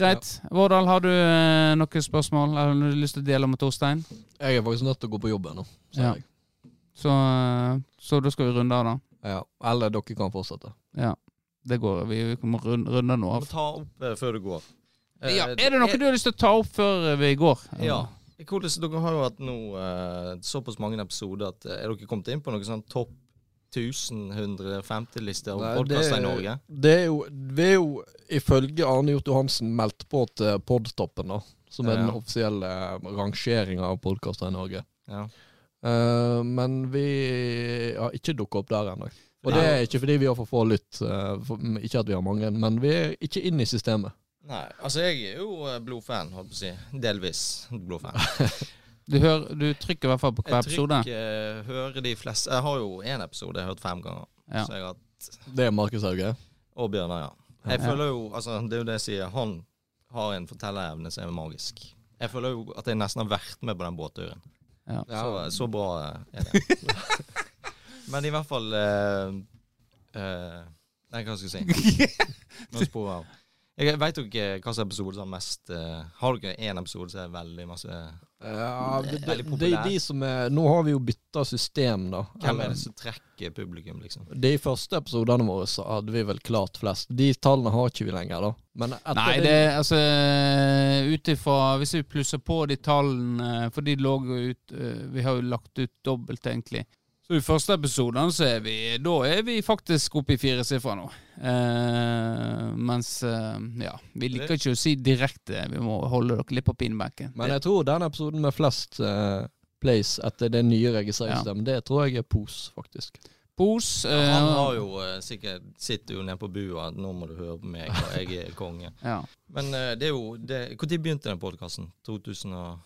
Speaker 1: Greit. Vårdal, har du eh, noen spørsmål eller har du lyst til å dele med Torstein?
Speaker 2: Jeg er faktisk nødt til å gå på jobb ennå. ser
Speaker 1: Ja.
Speaker 2: jeg.
Speaker 1: Så, eh, så da skal vi runde av, da.
Speaker 2: Ja. Eller dere kan fortsette.
Speaker 1: Ja. Det går. Vi, vi kommer runde, runde nå
Speaker 3: Du
Speaker 1: av.
Speaker 3: må ta opp eh, før du går. Eh,
Speaker 1: Ja, er det noe du har lyst til å ta opp før eh, vi går?
Speaker 3: Ja. Hvordan, dere har jo hatt nå eh, såpass mange episoder at eh, Er dere kommet inn på noen sånn topp 1150-liste om
Speaker 2: Nei,
Speaker 3: podkaster
Speaker 2: det-
Speaker 3: i Norge?
Speaker 2: Det er jo, vi er jo ifølge Arne Hjort Johansen meldt på til Podtoppen, da. Som er
Speaker 3: Ja.
Speaker 2: den offisielle rangeringa av podkaster i Norge.
Speaker 3: Ja.
Speaker 2: Eh, men vi har ikke dukka opp der ennå. Og det
Speaker 3: Nei.
Speaker 2: er ikke fordi vi har for få lytt, eh, for- mm, ikke at vi har mange, men vi er ikke inne i systemet.
Speaker 3: Nei, altså jeg er jo eh, blodfan, holdt på å si. Delvis blodfan.
Speaker 1: Du, hører, du trykker i hvert fall på hver
Speaker 3: Jeg
Speaker 1: episode.
Speaker 3: trykker, eh, hører de fleste Jeg har jo én episode jeg har hørt fem ganger.
Speaker 1: Ja.
Speaker 3: Så jeg har hatt,
Speaker 2: Det er Markus Hauge.
Speaker 3: og Bjørnar, ja. Jeg
Speaker 1: Ja.
Speaker 3: føler jo altså, Det er jo det jeg sier. Han har en fortellerevne som er magisk. Jeg føler jo at jeg nesten har vært med på den båtturen.
Speaker 1: Ja.
Speaker 3: Så, så bra eh, er det.
Speaker 1: [LAUGHS]
Speaker 3: Men i hvert fall eh, eh, Nei, hva skal jeg si?
Speaker 1: [LAUGHS]
Speaker 3: Nå sporer jeg av. Jeg veit jo ikke hva slags episode som er mest eh, Har dere én episode som er veldig masse
Speaker 2: Ja, det,
Speaker 3: Veldig
Speaker 2: det, det
Speaker 3: populær.
Speaker 2: er de som er Nå har vi jo bytta system, da. Eh,
Speaker 3: Hvem er det som trekker publikum, liksom?
Speaker 2: De første episodene våre så hadde vi vel klart flest. De tallene har ikke vi lenger, da. Men etter
Speaker 1: Nei, det er altså Ut ifra Hvis vi plusser på de tallene, for de lå jo ut eh, Vi har jo lagt ut dobbelt, egentlig. Så i første episoden så er vi Da er vi faktisk oppe i fire sifre nå. Eh, mens eh, Ja. Vi liker ikke å si direkte. Vi må holde dere litt på pinbenken.
Speaker 2: Men jeg tror den episoden med flest eh, plays etter det nye registreringssystemet, det tror jeg er pos, faktisk.
Speaker 1: Pos. eh,
Speaker 3: Han har jo eh, sikkert sitter jo nede på bua. Nå må du høre på meg, og jeg er konge.
Speaker 1: ja.
Speaker 3: Men eh, det er jo det, Når begynte den podkasten? 2000 og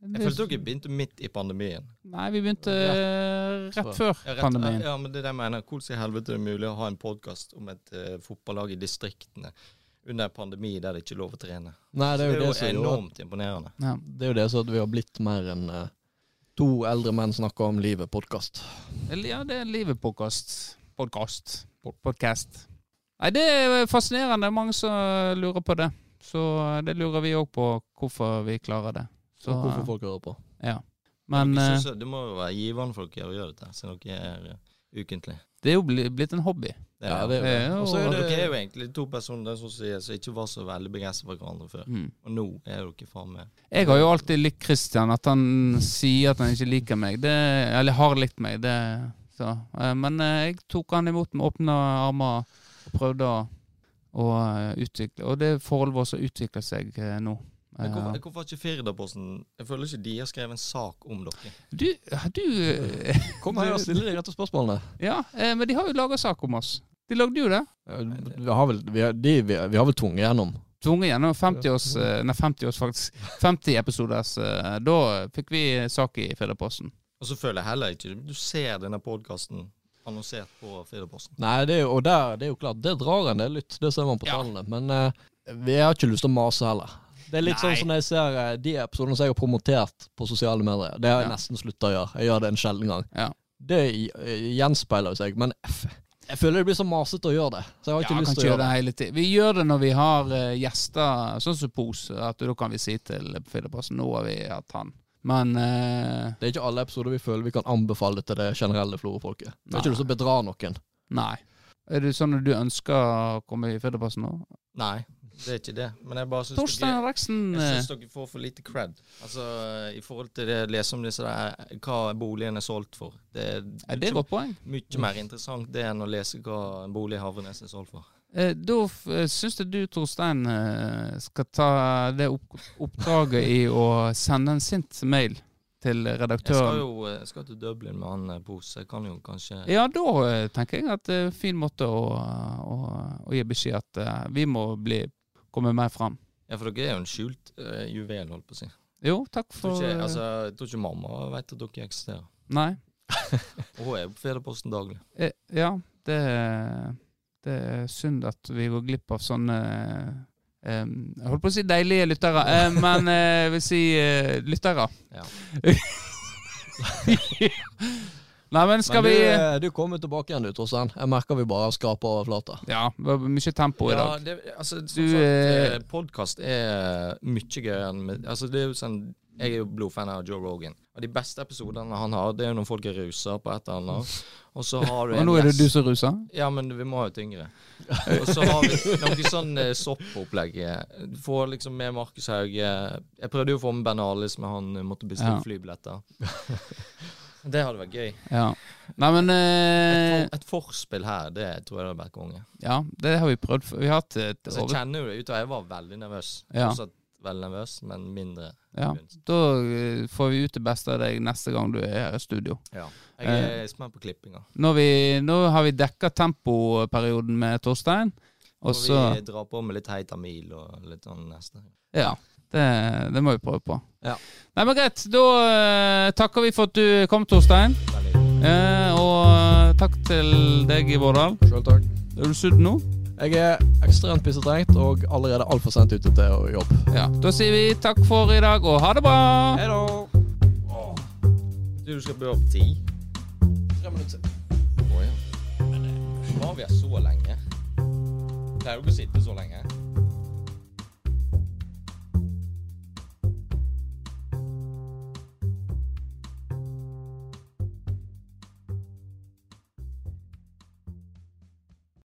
Speaker 3: Jeg følte dere begynte midt i pandemien.
Speaker 1: Nei, vi begynte eh, rett før
Speaker 3: Ja, rett-
Speaker 1: pandemien.
Speaker 3: Ja, men det er det jeg mener. Hvordan i helvete er det mulig å ha en podkast om et eh, fotballag i distriktene under en pandemi der det ikke er lov å trene?
Speaker 2: Nei, det er jo det, som gjorde at-
Speaker 3: enormt imponerende.
Speaker 1: Ja.
Speaker 2: det er jo det som at vi har blitt mer enn eh, to eldre menn snakker om livet-podkast.
Speaker 1: Eller, Ja, det er livet podcast. Podcast. Pod- Podcast. Nei, det er fascinerende. Mange som lurer på det. Så eh, det lurer vi òg på, hvorfor vi klarer det. Så,
Speaker 2: Hvorfor folk hører på.
Speaker 1: men
Speaker 3: Dere
Speaker 1: eh,
Speaker 3: synes det må jo være givende for dere å gjøre dette, siden dere er eh, ukentlig.
Speaker 1: det er jo bli- blitt en hobby.
Speaker 3: Det er,
Speaker 2: Ja, det er jo
Speaker 1: det
Speaker 2: det.
Speaker 1: er jo-
Speaker 2: Og så
Speaker 3: Men
Speaker 2: er
Speaker 3: dere
Speaker 2: det
Speaker 3: er jo egentlig to personer som, sier, som ikke var så veldig begeistra for hverandre før.
Speaker 1: Mm.
Speaker 3: Og nå er dere faen meg
Speaker 1: Jeg har jo alltid likt Christian. At han sier at han ikke liker meg, det, eller har likt meg. Det, så. eh, Men eh, jeg tok han imot med åpne armer og prøvde å, å eh, utvikle Og det forholdet vårt som utvikler seg eh, nå.
Speaker 3: Men
Speaker 1: Eh,
Speaker 3: hvorfor, hvorfor har ikke Firdaposten Jeg føler ikke de har skrevet en sak om dere.
Speaker 1: Du, du
Speaker 2: Kom her og still de rette spørsmålene.
Speaker 1: Ja, eh, men de har jo laga sak om oss. De lagde jo det.
Speaker 2: Eh, Vi har vel, vi har, de, vi, vi har vel tvunget gjennom.
Speaker 1: Tvunget gjennom 50 års eh, Nei, 50 års faktisk 50 episoders eh, Da fikk vi sak i Firdaposten.
Speaker 3: Og så føler jeg heller ikke Du ser denne podkasten annonsert på Firdaposten.
Speaker 2: Nei, det er, jo- og der, det er jo klart, det drar en del lytt, det ser man på
Speaker 1: Ja.
Speaker 2: tallene. Men eh, vi har ikke lyst til å mase heller. Det er litt
Speaker 1: Nei.
Speaker 2: sånn som jeg ser eh, de episodene som jeg har promotert på sosiale medier. Det har jeg
Speaker 1: Ja.
Speaker 2: nesten slutta å gjøre. Jeg gjør det en sjelden gang.
Speaker 1: Ja.
Speaker 2: Det i- eh, gjenspeiler jo seg, men f jeg føler det blir så masete å gjøre det. Så jeg har
Speaker 1: Ja,
Speaker 2: ikke
Speaker 1: kan
Speaker 2: lyst
Speaker 1: ikke
Speaker 2: til å
Speaker 1: gjøre
Speaker 2: gjøre
Speaker 1: det
Speaker 2: det.
Speaker 1: hele tiden. Vi gjør det når vi har eh, gjester, sånn som Pos, at da kan vi si til Firdaposten nå har vi hatt han. Men eh,
Speaker 2: Det er ikke alle episoder vi føler vi kan anbefale til det generelle florefolket. Jeg har
Speaker 1: Nei.
Speaker 2: ikke lyst til å bedra noen.
Speaker 1: nei. Er det sånn at du ønsker å komme i Firdaposten nå?
Speaker 3: Nei, det er ikke det. Men jeg bare syns
Speaker 1: Torstein
Speaker 3: dere,
Speaker 1: Henriksen eh,
Speaker 3: jeg synes dere får for lite cred. Altså, I forhold til det jeg leser om disse der, eh, hva boligen er solgt for. Det er
Speaker 1: ja, Det er et
Speaker 3: mye,
Speaker 1: godt poeng.
Speaker 3: mye mer interessant det enn å lese hva en bolig i Havrenes er solgt for.
Speaker 1: Eh, Da f- eh, syns jeg du, Torstein, eh, skal ta det opp oppdraget i å sende en sint mail til
Speaker 3: Jeg skal
Speaker 1: redaktøren.
Speaker 3: jo eh, jeg skal til Dublin med han eh, Pose. Jeg kan jo kanskje
Speaker 1: Ja, da eh, tenker jeg at det er en fin måte å, å, å gi beskjed at eh, vi må bli, komme mer fram.
Speaker 3: Ja, for dere er jo en skjult eh, juvel, holdt på å si.
Speaker 1: Jo, takk
Speaker 3: Jeg tror,
Speaker 1: for
Speaker 3: ikke, altså, jeg tror ikke mamma vet at dere eksisterer.
Speaker 1: Nei.
Speaker 3: Og hun er jo på Fedreposten daglig.
Speaker 1: Eh, Ja, det, det er synd at vi går glipp av sånne eh, Jeg holdt på å si deilige lyttere, eh, men eh, jeg vil si eh, lyttere. [LAUGHS] Nei, men skal vi
Speaker 3: eh,
Speaker 2: Men du, du kommer tilbake igjen, du, Torstein. Jeg merker vi bare skraper overflata.
Speaker 1: Ja, det var mye tempo i
Speaker 3: Ja,
Speaker 1: dag.
Speaker 3: det, altså,
Speaker 1: Du, eh,
Speaker 3: som sagt, podkast er eh, mye gøyere enn med- altså, det er jo sånn, Jeg er jo blodfan av Joe Rogan. Og De beste episodene han har, det er jo når folk er rusa på et eller annet. Og så
Speaker 1: [LAUGHS]
Speaker 3: har du
Speaker 1: Og nå er det
Speaker 3: gjest-
Speaker 1: du som ruser?
Speaker 3: Ja, men vi må ha jo tyngre. Og så har vi noe sånn eh, soppopplegg. Du Får liksom med Markus Hauge Jeg prøvde jo å få med Ben Alice, men han eh, måtte bestille
Speaker 1: Ja.
Speaker 3: flybilletter. Det hadde vært gøy.
Speaker 1: Ja. Nei, men eh,
Speaker 3: Et forspill her, det tror jeg hadde vært konge.
Speaker 1: Ja, det har vi prøvd før. Vi har hatt et
Speaker 3: Altså, jeg
Speaker 1: over...
Speaker 3: kjenner jo det ut, og jeg var veldig nervøs.
Speaker 1: Ja.
Speaker 3: Fortsatt veldig nervøs, men mindre.
Speaker 1: Ja. Da eh, får vi ut det beste av deg neste gang du er her i studio.
Speaker 3: Ja.
Speaker 1: Eh.
Speaker 3: Jeg er spent på klippinga.
Speaker 1: Nå, har vi, nå har vi dekka tempoperioden med Torstein, og
Speaker 3: Og
Speaker 1: så
Speaker 3: vi drar på med litt heit Amil og litt sånn neste.
Speaker 1: Ja. Det, det må vi prøve på.
Speaker 2: Ja.
Speaker 1: Nei, men greit. Da eh, takker vi for at du kom, Torstein.
Speaker 3: Veldig.
Speaker 1: Eh, og takk til deg i Vårdal.
Speaker 2: Sjøl takk.
Speaker 1: Er du sulten nå?
Speaker 2: Jeg er ekstremt pissetrengt og allerede altfor sent ute til å jobbe.
Speaker 1: Ja. Da sier vi takk for i dag, og ha det bra!
Speaker 2: Hei da!
Speaker 3: Du, du skal bli opp ti?
Speaker 2: Tre minutter.
Speaker 3: Å ja. Men eh, var vi her så lenge? Pleier dere å sitte så lenge?